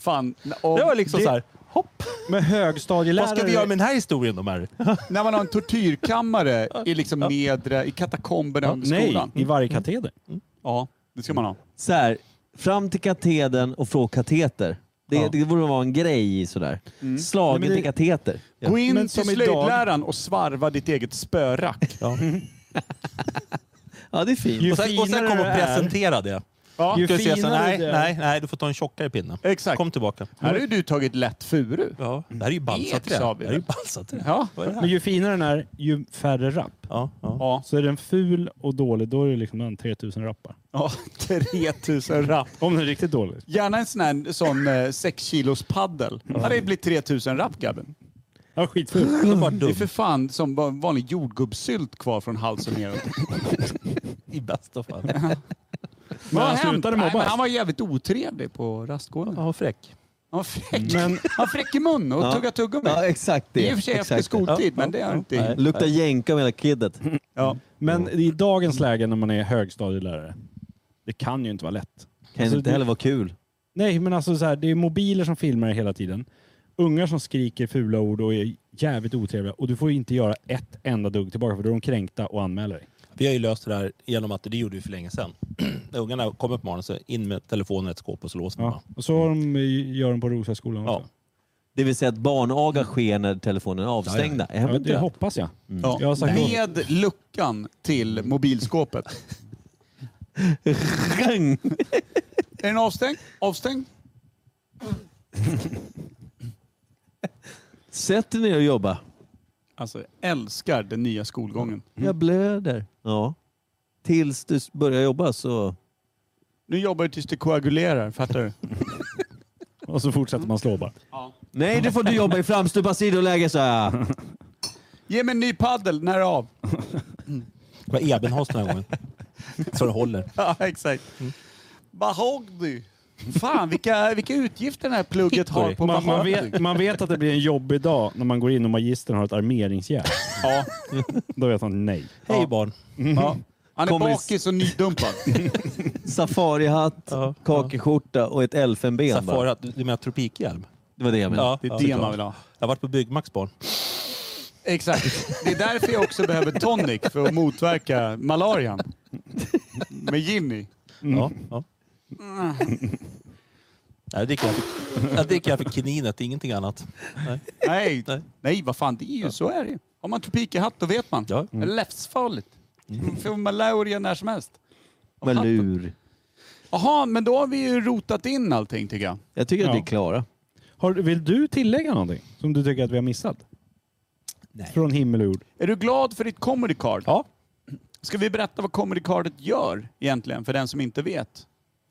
S6: Fan. om-
S8: Det var liksom
S3: Det-
S8: så här, hopp.
S3: Med högstadielärare.
S8: Vad ska vi göra med den här historien då Mary?
S6: När man har en tortyrkammare i liksom nedre, i katakomberna
S3: Ja,
S6: under
S3: Nej,
S6: skolan.
S3: i varje kateder.
S8: Mm.
S6: Ja, det ska man ha.
S2: Så här, fram till katedern och från kateter. Det,
S3: Ja.
S2: det borde vara en grej i sådär. Slagen
S3: Nej, men det-
S2: till kateter. Ja.
S6: Gå in
S3: Men
S6: till
S3: som idag-
S6: slöjdläraren och svarva ditt eget spörack.
S2: ja, det är fint.
S3: Ju
S8: Och sen, och sen
S3: finare
S8: kom och
S3: det är-
S8: presentera det.
S6: Ja,
S3: Ju
S8: Ska vi se, så,
S3: finare
S8: nej,
S3: det är.
S8: nej, nej, du får ta en tjockare pinne.
S6: Exakt.
S8: Kom tillbaka.
S6: här har ju du tagit lätt furu.
S8: Ja, det här är ju balsaträ.
S6: Ek, sa vi.
S8: Det här är ju balsaträ.
S6: Ja.
S8: Vad är det
S3: Men
S8: här?
S3: ju finare den är, ju färre rapp.
S8: Ja, ja.
S6: Ja.
S3: Så är den ful och dålig, då är det liksom en 3000 rappar.
S6: ja, 3000 rapp.
S3: Om den är riktigt dålig.
S6: Gärna en sån här sån, eh, 6 kilos paddel. Ja, det blir 3000 rapp grabben.
S3: Ja, skitful.
S8: Det är bara
S6: Det är
S8: dumt
S6: för fan som bara vanlig jordgubbssylt kvar från halsen neråt.
S8: i bästa fall.
S3: Men
S6: Vad har
S3: han
S6: hänt?
S3: slutade
S6: Nej, men
S3: mobbas.
S6: han var jävligt otrevlig på rastgården.
S8: Ja, fräck.
S6: Han var fräck. Han var fräck i mun och
S2: Ja.
S6: tuggade tuggummi.
S2: Ja, exakt det.
S6: Det är i och för sig
S2: Exakt
S6: efter
S2: det.
S6: skoltid, men det är inte...
S2: Luktar jänka med hela kiddet.
S6: Ja.
S3: Men i dagens läge när man är högstadielärare, det kan ju inte vara lätt.
S2: Kan
S3: Alltså,
S2: inte
S3: det-
S2: heller vara kul.
S3: Nej, men alltså så här, det är mobiler som filmar hela tiden. Ungar som skriker fula ord och är jävligt otrevliga och du får inte göra ett enda dugg tillbaka för då är de kränkta och anmäler dig.
S8: Vi har ju löst det där genom att, det gjorde vi för länge sedan. När ungarna kommer på morgonen så in med telefonen i ett skåp och så låser man.
S3: Ja. Och så har de, eh, gör de på Roslagsskolan
S8: Ja.
S3: också.
S2: Det vill säga att barnaga sker när telefonen är avstängda. Är
S3: Ja,
S2: det
S3: det
S2: inte det?
S3: hoppas jag.
S6: Ja.
S3: Jag har sagt
S6: Med luckan till mobilskåpet.
S2: Rang!
S6: Är den avstängd? Avstängd?
S2: Sätt dig ner och jobba.
S6: Alltså, jag älskar den nya skolgången.
S2: Jag blöder. Ja. Tills du s- börjar jobba så...
S6: Nu jobbar du tills det koagulerar, fattar du?
S3: Och så fortsätter man slå bara.
S2: Nej, du får du jobba i framstupa sidoläge så här.
S6: Ge mig en ny paddel, när är det av?
S8: Det var Ebenholts den här gången. Så det håller.
S6: Ja, exakt. Mahogny. Mm. Fan, vilka, vilka utgifter det här plugget har på
S3: Man, man,
S6: mahogny.
S3: vet, man vet att det blir en jobbig dag när man går in och magistern har ett armeringsjärn.
S6: Ja.
S3: Då vet man nej.
S8: Hej barn.
S6: Ja. Han är
S2: Kommer i-
S6: bakis och nydumpad.
S2: Safarihatt, kakeskjorta och ett elfenben. va?
S8: Safari, du du menar tropikhjälm?
S2: Det var det jag menade.
S8: Ja,
S6: Det är
S8: ja.
S6: det man vill ha.
S8: Jag har varit på Byggmax barn.
S6: Exakt. Det är därför jag också behöver tonic, för att motverka malarian. Med Jimmy.
S8: Ja, ja. Nej, det dricker jag för- jag dricker jag för kininet, ingenting annat. Nej.
S6: Nej,
S8: Nej.
S6: nej vad fan, det är ju så är det ju. Har man topikahatt då vet man.
S8: Ja.
S6: Det är livsfarligt. Mm. Får malaria när som helst.
S2: Malur.
S6: Jaha, men då har vi ju rotat in allting tycker jag.
S2: Jag tycker att
S3: Ja.
S2: vi är klara.
S3: Har, vill du tillägga någonting som du tycker att vi har missat?
S8: Nej.
S3: Från himmel och jord.
S6: Är du glad för ditt comedy card?
S8: Ja.
S6: Ska vi berätta vad comedy cardet gör egentligen för den som inte vet?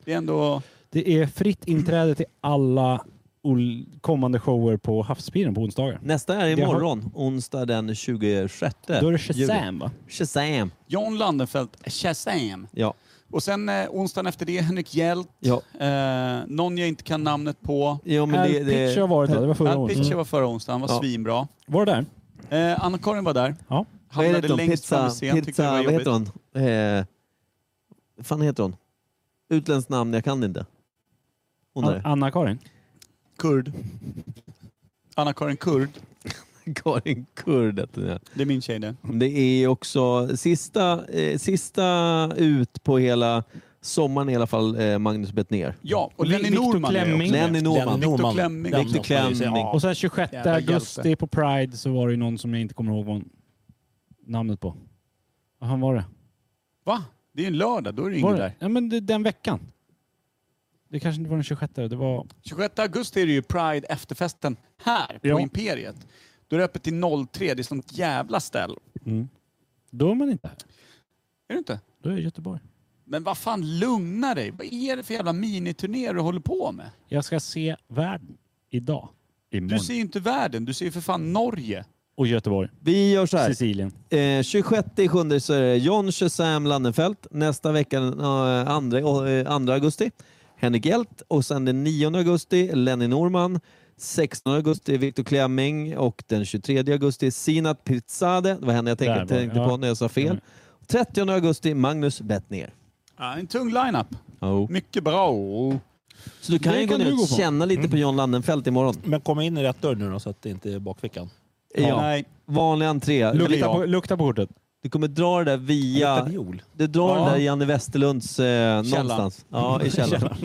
S6: Det är ändå...
S3: Det är fritt inträde till alla ol- kommande shower på Havspiren på onsdagar.
S2: Nästa är
S3: Det har-
S2: imorgon, onsdag den 26
S3: Då är det
S2: juli.
S3: Shazam va?
S2: Shazam.
S6: John Landenfelt, Shazam.
S2: Ja.
S6: Och sen eh, onsdagen efter det Henrik Hjelt.
S2: Ja.
S6: Eh, någon jag inte kan namnet på.
S2: Jo, men
S3: Al
S2: det,
S3: Pitcher
S2: det,
S3: har varit där, det var förra
S6: Al
S3: året.
S6: Pitcher var förra onsdagen, han var
S2: Ja.
S6: svinbra.
S3: Var det där?
S6: Eh, Anna-Karin var där.
S3: Ja.
S2: vad är
S6: Hamnade
S2: det då?
S6: längst fram
S2: Pizza...
S6: i scen, tyckte det
S2: pizza
S6: var
S2: vad
S6: jobbigt.
S2: heter hon? Eh, vad fan heter hon? Utländskt namn, jag kan det inte. Hon
S3: An-
S2: där.
S3: Anna-Karin?
S6: Kurd. Anna-Karin Kurd.
S2: Karin Kurd heter hon, ja.
S6: Det är min tjej det.
S2: Det är ju också sista, eh, sista ut på hela sommaren i alla fall, eh, Magnus Bettner.
S6: Ja, och
S3: Vi-
S6: Lenny
S3: Viktor
S6: Norman är
S3: Klemming.
S6: också med.
S2: Lenny Norman.
S8: Lenny Norman.
S6: Klemming.
S8: Lenny
S2: Viktor
S8: måste man ju säga.
S2: Klemming.
S3: Och sen 26
S6: Jävla hjälte.
S3: augusti på Pride så var det ju någon som jag inte kommer ihåg vad namnet på. Vad han var det?
S6: Va? Det är ju en lördag, då är det
S3: Var
S6: ingen
S3: det?
S6: där.
S3: Ja, men det, den veckan. Det kanske inte var den 26, det var...
S6: 26 augusti är det ju Pride efterfesten här på
S3: Ja.
S6: Imperiet. Då är det öppet till 03, det är sånt jävla ställ.
S3: Då är man inte här.
S6: Är det inte?
S3: Då är det Göteborg.
S6: Men vad fan, lugna dig. Vad är det för jävla miniturné du håller på med?
S3: Jag ska se världen idag.
S6: Du
S3: Imorgon.
S6: ser ju inte världen, du ser ju för fan Norge.
S3: Och Göteborg.
S2: Vi gör så här.
S3: Sicilien.
S2: Eh, 26 i sjunde så är det John Shazam Landenfelt. Nästa vecka den eh, andra, eh, andra augusti Henrik Hjelt och sen den 9 augusti Lenny Norman. 16 augusti Viktor Klemming och den 23 augusti Sinat Pirzade. Det var henne jag
S3: Där
S2: tänkte,
S3: var det,
S2: tänkte
S3: ja. Mm.
S2: på när jag sa fel. 30 augusti Magnus Bettner.
S6: Ja, en tung lineup.
S3: Oh.
S6: Mycket bra.
S2: Så du kan
S3: Det
S2: ju gå
S3: kan du
S2: ner
S3: gå
S2: och
S3: på. Mm.
S2: känna lite på John Landenfelt imorgon.
S8: Men komma in i rätt dörr nu då, så att det inte är bakfickan.
S2: Ja.
S6: Nej,
S2: Vanlig entré.
S3: Lukta på, lukta på kortet.
S2: Du kommer dra det där
S8: Ja.
S2: via...
S8: Viol.
S2: Du drar
S6: Ja.
S2: den där Janne Westerlunds... Eh, någonstans. Ja, i källaren.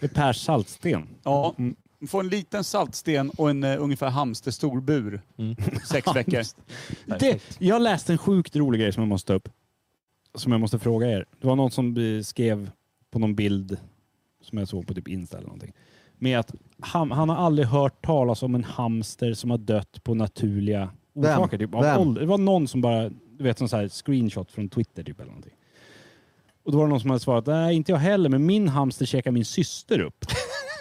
S3: Det är Per Saltsten.
S6: Ja.
S3: Mm.
S6: Få en liten saltsten och en eh, ungefär hamsterstor bur.
S3: Mm.
S6: Sex veckor.
S3: Det, jag läste en sjukt rolig grej som jag måste ta upp. Som jag måste fråga er. Det var någon som eh, skrev på någon bild som jag såg på typ Insta eller någonting. Med att han, han har aldrig hört talas om en hamster som har dött på naturliga
S2: Vem?
S3: orsaker. Typ, av
S2: Vem?
S3: ålder. Det var någon som bara, du vet sån så här screenshot från Twitter typ eller någonting. Och då var det någon som hade svarat, nej inte jag heller, men min hamster käkar min syster upp.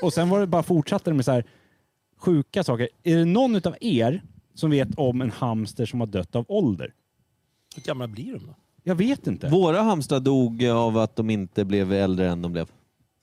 S3: Och sen var det bara fortsatte det med så här sjuka saker. Är det någon utav er som vet om en hamster som har dött av ålder?
S8: Hur gamla blir de då?
S3: Jag vet inte.
S2: Våra hamstrar dog eh, av att de inte blev äldre än de blev.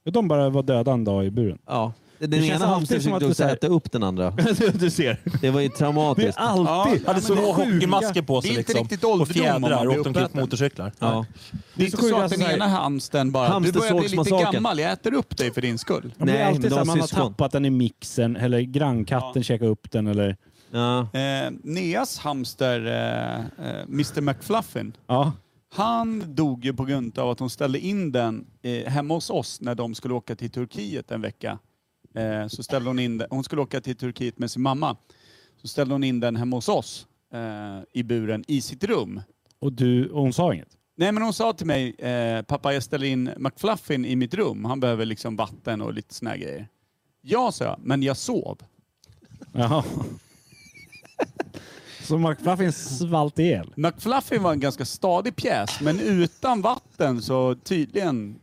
S3: De bara var döda en dag i buren.
S2: Ja. Den
S3: känns
S2: ena
S3: alltid
S2: hamstern
S3: som att
S2: fick
S3: det
S2: dock
S3: så här-
S2: äta upp den andra.
S3: du ser.
S2: Det var ju
S3: Det är
S2: traumatiskt.
S3: alltid.
S6: Ja,
S8: Hade
S6: men
S8: så
S6: det är
S8: små
S6: sjuka.
S8: hockeymasker på
S6: Det är
S8: sig
S6: inte
S8: liksom.
S6: riktigt ålderdom
S8: och
S6: om man
S8: fjädrar och
S6: blir
S8: åkte omkring på
S6: uppäten.
S8: motorcyklar.
S2: Ja.
S6: Det är inte
S3: så sjukt
S6: så att
S3: alltså
S6: den
S3: så här-
S6: ena hamsten bara, du börjar bli lite
S2: Hamstersågsmassakern.
S6: gammal, jag äter upp dig för din skull.
S3: Nej, det
S2: Nej,
S3: är alltid
S2: men
S3: så
S2: de
S3: här, man har
S2: syskon.
S3: tappat den i mixen eller grannkatten käkar upp den eller...
S2: Ja.
S6: Eh, Neas hamster, eh, eh, Mr McFluffin,
S3: Ja.
S6: Han dog ju på grund av att hon ställde in den eh, hemma hos oss när de skulle åka till Turkiet en vecka. Eh, så ställde hon in den. Hon skulle åka till Turkiet med sin mamma. Så ställde hon in den hemma hos oss eh, i buren i sitt rum.
S3: Och, du, och hon sa inget?
S6: Nej men hon sa till mig, eh, pappa jag ställer in McFluffin i mitt rum. Han behöver liksom vatten och lite såna här grejer. Ja, sa jag, men jag sov.
S3: Jaha. Så McFluffin svalt ihjäl?
S6: McFluffin var en ganska stadig pjäs, men utan vatten så tydligen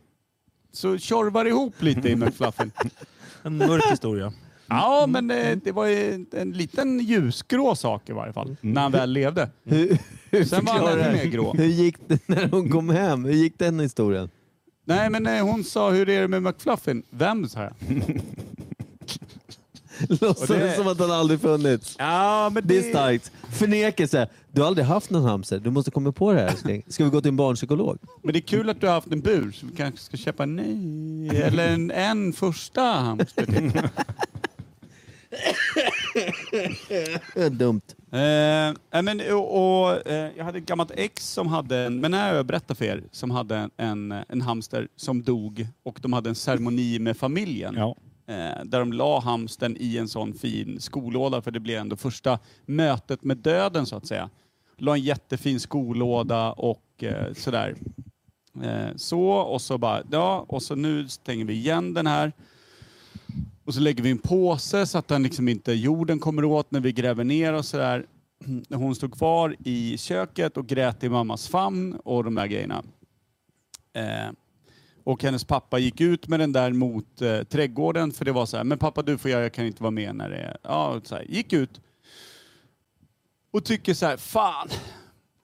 S6: så tjorvar det ihop lite i McFluffin.
S8: En mörk historia.
S6: Ja, men eh, det var ju en liten ljusgrå sak i varje fall, när han väl levde.
S2: Hur, hur,
S6: Sen var han ännu
S2: förklarar-
S6: mer grå.
S2: hur gick det när hon kom hem? Hur gick den historien?
S6: Nej, men eh, hon sa, hur är det med McFluffin? Vem, sa jag.
S2: Låtsades
S6: det-
S2: som att han aldrig funnits.
S6: Ja, men
S2: Det är starkt. Förnekelse. Du har aldrig haft någon hamster. Du måste komma på det här älskling. Ska vi gå till en barnpsykolog?
S6: Men det är kul att du har haft en bur, så vi kanske ska köpa en ny. Eller en, en första hamster till.
S2: Det är dumt.
S6: Eh, nej, men, och, och, eh, jag hade ett gammalt ex som hade en, men det här har jag berättat för er, som hade en, en, en hamster som dog och de hade en ceremoni med familjen.
S3: Ja.
S6: Eh, där de la hamsten i en sån fin skolåda för det blev ändå första mötet med döden så att säga. La en jättefin skolåda och eh, sådär. Eh, så och så bara, ja och så nu stänger vi igen den här. Och så lägger vi en påse så att den liksom inte, jorden kommer åt när vi gräver ner och sådär. När Hon stod kvar i köket och grät i mammas famn och de där grejerna. Eh, och hennes pappa gick ut med den där mot eh, trädgården för det var så här, men pappa du får göra, jag kan inte vara med när det är... Ja, så här, gick ut. Och tycker så här, fan,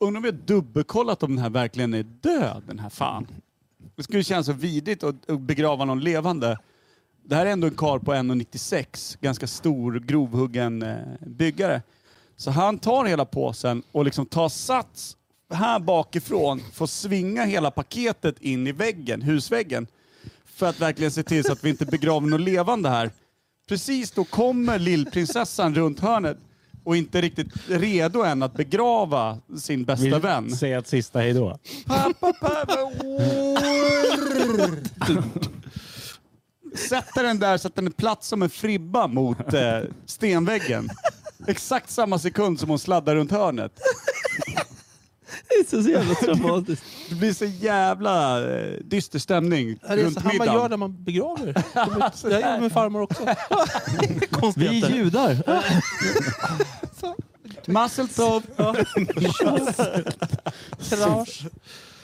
S6: undrar om jag dubbelkollat om den här verkligen är död, den här fan. Det skulle kännas så vidigt att att begrava någon levande. Det här är ändå en karl på 1,96, ganska stor, grovhuggen eh, byggare. Så han tar hela påsen och liksom tar sats här bakifrån, får svinga hela paketet in i väggen, husväggen. För att verkligen se till så att vi inte begraver något levande här. Precis då kommer lillprinsessan runt hörnet och inte riktigt redo än att begrava sin
S3: Vill
S6: bästa vän.
S3: säga ett sista hejdå.
S6: Pappa, pappa, orr. Sätter den där så att den är platt som en fribba mot eh, stenväggen. Exakt samma sekund som hon sladdar runt hörnet.
S2: Det är så jävla traumatiskt.
S6: Det blir så jävla eh, dyster stämning
S8: Ja, det är
S6: runt
S8: så här man gör
S6: middagen.
S8: när man begraver. Det här gjorde min farmor också.
S2: Vi är
S8: Konstigheter.
S2: judar.
S6: Musseltop.
S8: Krasch.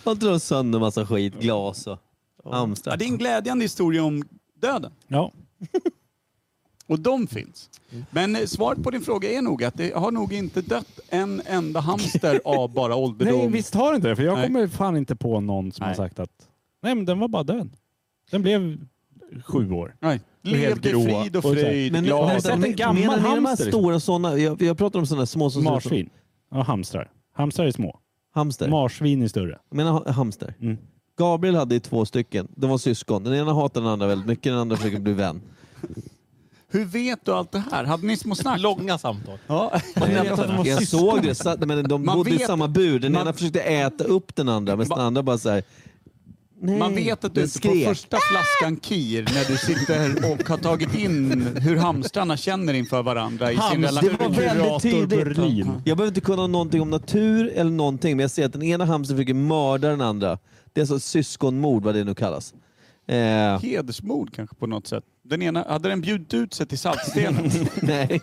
S2: Han drar sönder massa skit. Glas och
S6: Ja,
S2: hamstrar.
S6: det är en glädjande historia om döden.
S3: Ja.
S6: Och de finns. Men eh, svaret på din fråga är nog att det har nog inte dött en enda hamster av bara ålderdom.
S3: Nej, visst har det inte det. För jag
S6: Nej.
S3: kommer fan inte på någon som
S6: Nej.
S3: har sagt att nej, men den var bara död. Den blev sju år.
S6: Nej.
S3: är helt
S6: Levde i
S3: gråa.
S6: frid och
S3: Och så här-
S6: fröjd,
S2: Men
S6: glad.
S3: vänta, Sätt en gammal
S2: menar ni de här
S3: hamster. liksom.
S2: stora sådana? Jag, jag pratar om sådana små som
S3: Marsvin. Ja, hamstrar. Hamstrar är små.
S2: Hamster.
S3: Marsvin är större.
S2: jag menar ha- hamster.
S3: Mm.
S2: Gabriel hade ju två stycken. De var syskon. Den ena hatar den andra väldigt mycket. Den andra försöker bli vän.
S6: Hur vet du allt det här? Hade ni små snack?
S8: Långa samtal.
S2: jag såg det. Satt, men de
S6: Man
S2: bodde i
S6: vet-
S2: samma bur. Den
S6: man-
S2: ena försökte äta upp den andra men den
S6: Man-
S2: andra bara såhär...
S6: Man vet att du
S2: den
S6: inte på
S2: skrek.
S6: första flaskan kir när du sitter och har tagit in hur hamstrarna känner inför varandra i sin
S2: Hamster-
S6: relation.
S2: Det var väldigt
S3: Kurator
S2: tidigt.
S3: Berlin.
S2: Jag behöver inte kunna någonting om natur eller någonting, men jag ser att den ena hamstern försöker mörda den andra. Det är alltså syskonmord, vad det nu kallas. Eh,
S6: Hedersmord kanske på något sätt. Den ena, hade den bjudit ut sig till saltstenen?
S2: nej.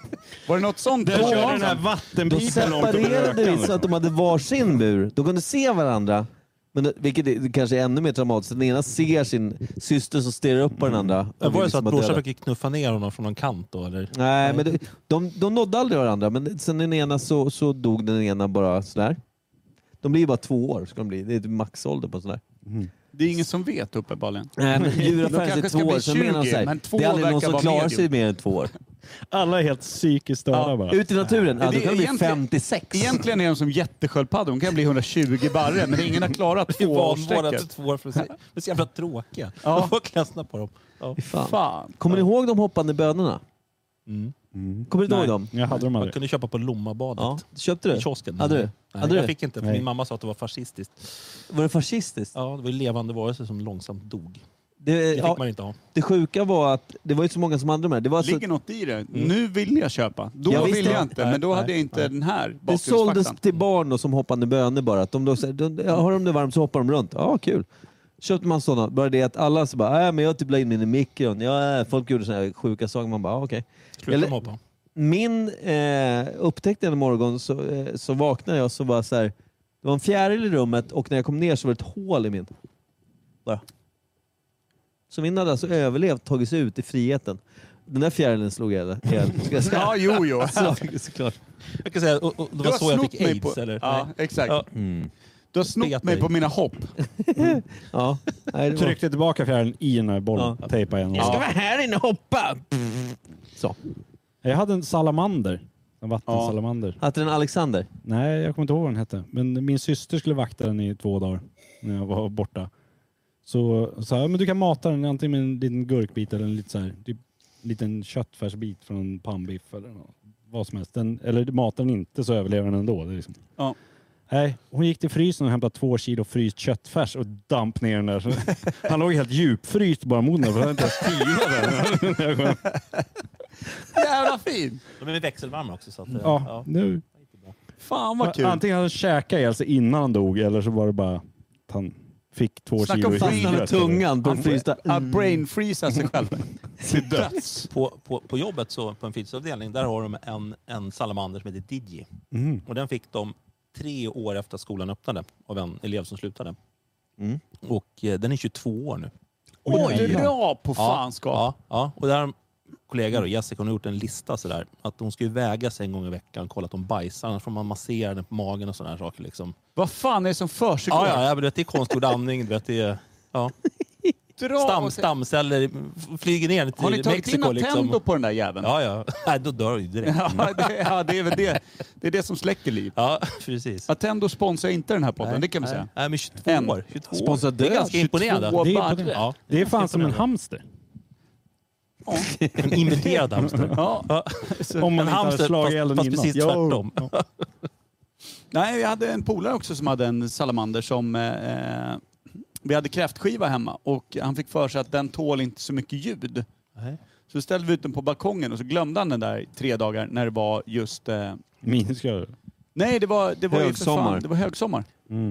S6: Var det något sånt?
S3: Den
S6: där?
S3: körde den här
S2: Då
S3: vattenpipen långt upp i
S2: separerade vi så att
S3: rökan.
S2: de hade varsin bur. De kunde se varandra. Men det, vilket är, kanske är ännu mer traumatiskt. Den ena ser sin syster som stirrar upp på den andra. och
S8: Det var
S2: vill
S8: det så att
S2: liksom
S8: brorsan
S2: döda.
S8: försökte knuffa ner honom från någon kant då? Eller?
S2: Nej, men det, de, de nådde aldrig varandra, men sen den ena så, så dog den ena bara sådär. De blir ju bara två år, ska de bli. det är typ maxålder på sådär.
S6: Det är ingen som vet uppenbarligen.
S2: Nej, men
S6: De
S2: djuraffären
S6: kanske
S2: är
S6: ska
S2: två år,
S6: bli
S2: sen menar de
S6: 20,
S2: så här,
S6: men två
S2: det är aldrig någon
S6: verkar
S2: som
S6: vara
S2: klarar sig
S6: medium.
S2: mer än två år.
S3: Alla är helt psykiskt störda bara.
S2: Ut i naturen,
S6: Det
S2: ja, då
S6: är
S2: kan de bli
S6: egentligen-
S2: 56.
S6: Egentligen är de som jättesköldpaddor. De kan bli 120 barre, men ingen har klarat tvåårsstrecket.
S8: två år för sig. De är så jävla tråkiga.
S6: Ja.
S8: Man får klassna på dem. Ja.
S2: Fy Fan.
S6: Fan.
S2: Kommer ni ihåg de hoppande bönorna?
S8: Mm.
S2: Kommer du ihåg
S3: Nej,
S2: dem?
S3: Jag hade dem
S8: Man
S3: aldrig.
S8: kunde köpa på Lommabadet.
S2: Ja. Köpte
S8: I
S2: du?
S8: kiosken.
S2: Hade du?
S8: Nej,
S2: Hade du?
S8: jag fick inte, för
S3: Nej.
S8: min mamma sa att det var fascistiskt.
S2: Var det fascistiskt?
S8: Ja, det var ju levande varelser som långsamt dog.
S2: Det,
S8: Det fick
S2: ja,
S8: man inte ha.
S2: det sjuka var att det var ju så många som hade de här. Det, var alltså,
S6: Ligger något i det?
S8: Mm.
S6: Nu vill jag köpa. Då
S2: Ja, visst,
S6: ville jag
S2: ja.
S6: inte,
S3: Nej,
S6: men då hade
S3: nej,
S6: jag inte den här
S2: det såldes
S6: bakgrundsfaktan.
S2: till barn då, som hoppande bönor bara. Att de då, så här, de, ja, har de det varmt så hoppar de runt. Ja, kul. Köpte man sådana. Bara det att alla så bara, äh, men jag typ la in min i mikron. Ja, äh, folk gjorde sådana här sjuka saker. Man bara, ah, okej.
S8: Sluta
S2: Eller-
S8: Eller... mobba.
S2: Min eh, upptäckte en morgon så, eh, så vaknade jag så var så här, det var en fjäril i rummet och när jag kom ner så var det ett hål i min. Bara. Så min hade alltså överlevt, tagit sig ut i friheten. Den där fjärilen slog jag ihjäl. ska jag säga.
S6: Ja, jo, jo.
S2: Så, såklart.
S8: Jag kan säga, och, och, det var Alltså, så jag fick aids.
S6: på...
S8: Eller?
S6: Ja,
S8: Nej.
S6: exakt.
S8: Ja.
S6: Du har snott
S8: Peter.
S6: mig på mina hopp.
S2: Ja. Nej, det var...
S3: Tryckte tillbaka fjärilen i den här bollen. Tejpade igen.
S2: Jag ska vara här inne och hoppa! Så.
S3: Jag hade en salamander. En vattensalamander.
S2: Hade den Alexander?
S3: Nej, jag kommer inte ihåg vad den hette. Men min syster skulle vakta den i två dagar när jag var borta. Så sa jag, men du kan mata den antingen med en liten gurkbit eller en liten, så här, typ, liten köttfärsbit från en pannbiff eller något, vad som helst. Den, eller mata den inte så överlever den ändå. Det är liksom.
S6: Ja.
S3: Nej, hon gick till frysen och hämtade två kilo fryst köttfärs och damp ner den där. Så Han låg helt djupfryst bara mot den för han hade inte ens tilat den. Jag kom-
S6: Jävla fin!
S8: De är växelvarma också. Så att,
S6: Mm.
S8: eh,
S3: ja, nu.
S6: Fan vad kul.
S3: Antingen hade han käkat ihjäl sig innan han dog eller så var det bara att han fick två
S6: Snacka
S3: kilo
S6: om
S3: i
S6: fastnade
S2: Fastnade med
S3: huvudet.
S2: tungan på den frysta...
S6: Att
S8: Mm.
S6: brainfreeza sig själv. Till döds.
S8: På, på, på jobbet, så, på en fritidsavdelning, där har de en, en salamander som heter Digi.
S3: Mm.
S8: Och den fick de tre år efter att skolan öppnade av en elev som slutade.
S2: Mm.
S8: Och eh, den är 22 år nu.
S6: Oj, du är
S3: jävlar.
S6: bra på fanskap.
S8: Ja, ja. Och där har en kollega, då, Jessica, hon har gjort en lista sådär. Att hon ska ju väga sig en gång i veckan, kolla att hon bajsar. Annars får man massera den på magen och sådana här saker. Liksom.
S6: Vad fan är det som försiggår?
S8: Ja, ja, ja, men du vet, det är konstgjord andning. Du vet, det är, ja.
S6: Dra
S8: Stam,
S6: åt-
S8: stamceller flyger ner till
S6: Har ni tagit in
S8: Mexiko.
S6: Attendo
S8: Liksom.
S6: på den där jäveln?
S8: Ja, ja. Nej, då dör du ju direkt.
S6: Ja, det, ja, det är väl det. Det är det som släcker liv.
S8: Ja, precis.
S6: Attendo sponsrar inte den här podden, det kan vi säga.
S8: Nej, men 22
S6: En.
S8: år. 22 år.
S2: Sponsra
S8: Det är
S2: död.
S6: alltså
S8: ganska imponerande.
S6: 22
S3: Det är
S6: barre.
S3: imponerande.
S8: Ja,
S3: Det är fan som en hamster.
S8: en imiterad hamster.
S6: Ja.
S3: Om man
S8: Alltså, en
S3: inte hade
S8: hamster,
S3: slagit
S8: fast,
S3: ihjäl den
S8: fast
S3: innan.
S8: precis
S3: Jo.
S8: tvärtom.
S6: Nej, jag hade en polare också som hade en salamander som... Eh, vi hade kräftskiva hemma och han fick för sig att den tål inte så mycket ljud.
S8: Nej.
S6: Så ställde vi ut den på balkongen och så glömde han den där i tre dagar när det var just... Eh,
S3: Minusgrader.
S6: nej, det var, det var ju för
S2: Högsommar.
S6: fan, det var högsommar.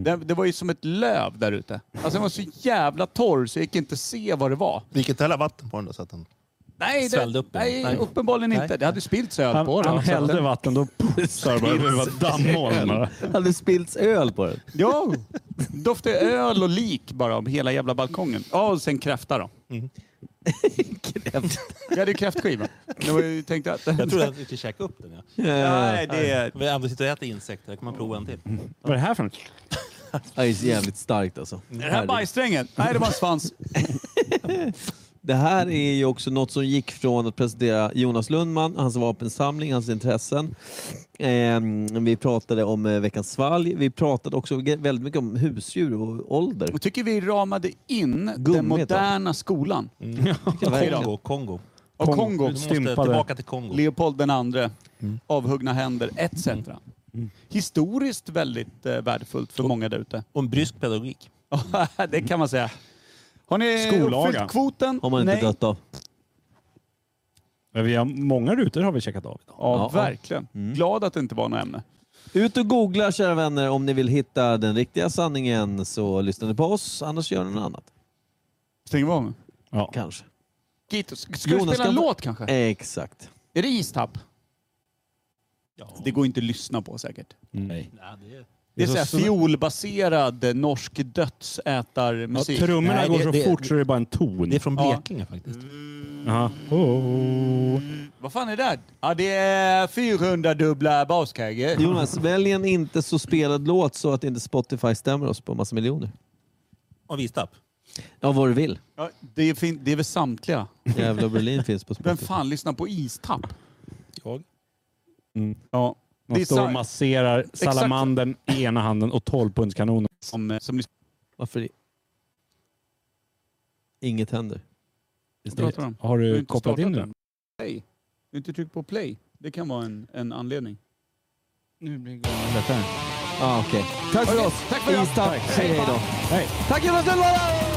S6: Det, det var ju som ett löv där ute. Alltså den var så jävla torr så jag gick inte se vad det var.
S8: Vi kan inte hälla vatten på den där så att den...
S6: Nej, det,
S8: Svällde upp den.
S6: nej,
S8: Nej.
S6: uppenbarligen inte. Det hade spillt öl
S3: Han,
S6: på den.
S3: han
S6: så att
S3: hällde
S6: den-
S3: vatten, då pussar det bara. Det var dammoln. bara.
S2: Hade spillts öl på den.
S6: Ja, doftade öl och lik bara av hela jävla balkongen. Ja, och sen kräfta då. Jag hade ju kräftskiva. Det var ju tänkt att...
S8: Jag tror att vi ska käka upp den. Ja.
S6: Nej, det är...
S8: Vi ändå sitter och äter insekter. Jag kommer prova en till.
S3: Vad är det här för en?
S2: Ja, det är så jävligt starkt alltså.
S6: Är det här bajssträngen? Nej, det var en svans.
S2: Det här är ju också något som gick från att presentera Jonas Lundman, hans vapensamling, hans intressen. Ehm, vi pratade om eh, veckans svalg. Vi pratade också ge- väldigt mycket om husdjur och ålder.
S6: Jag tycker vi ramade in
S2: Gummit,
S6: den moderna skolan.
S8: Kongo. Mm. Kongo. Mm.
S6: Och Kongo.
S8: Du måste
S3: Stympade.
S8: tillbaka till Kongo.
S6: Leopold den andre. Avhuggna händer, etc. Historiskt väldigt eh, värdefullt för många där ute.
S8: Och en brysk pedagogik.
S6: det kan man säga. Har ni
S3: Skollaga.
S6: uppfyllt kvoten?
S2: Har man inte
S6: Nej.
S2: dött av.
S3: Men vi har många rutor har vi checkat av idag.
S6: Ja, Mm.
S2: Ja.
S6: verkligen. Glad att det inte var något ämne.
S2: Ut och googla kära vänner om ni vill hitta den riktiga sanningen så lyssnar ni på oss, annars gör ni något annat.
S6: Stäng av.
S3: Ja.
S2: Kanske.
S6: Gito, ska ska du
S2: Jonas,
S6: spela en
S2: kan-
S6: låt kanske?
S2: Exakt.
S6: Är det istapp?
S8: Ja.
S6: Det går inte att lyssna på säkert.
S8: Mm.
S3: Nej.
S8: Nej, det är...
S6: Det är
S3: så
S6: såhär
S3: snö-
S6: fiolbaserad eh, norsk
S3: Ja,
S6: dödsätarmusik.
S3: trummorna
S8: Nej,
S3: går
S8: det-
S3: så
S8: det-
S3: fort så det är bara en ton.
S8: Det är från
S6: Ja.
S8: Blekinge faktiskt.
S3: Jaha. Oh.
S6: Vad fan är det där? Ja, det är 400 dubbla baskaggar.
S2: Jonas, välj en inte så spelad låt så att inte Spotify stämmer oss på massa miljoner.
S8: Av Istapp.
S2: Ja, vad du vill.
S6: Ja, det, är fin- det är väl samtliga?
S2: Jävla Berlin finns på Spotify.
S6: Vem fan lyssnar på istapp?
S8: Jag.
S6: Ja. Det
S3: Man
S6: är
S3: står och
S6: sa-
S3: masserar salamandern i ena handen och 12-pundskanonen.
S6: som, som lyssnar
S2: Varför? i- Inget händer.
S6: pratar om.
S3: Har
S6: Har du
S3: du
S6: inte
S3: kopplat
S6: startat
S3: in den?
S6: den? Nej. Du har inte tryckt på play. Det kan vara en, en anledning.
S3: Nu blir det
S2: Ah, Ja, okej. Tack för oss! Tack för oss! Tack. Säg hej då.
S3: Hej!
S2: Tack Jonas Lundvall!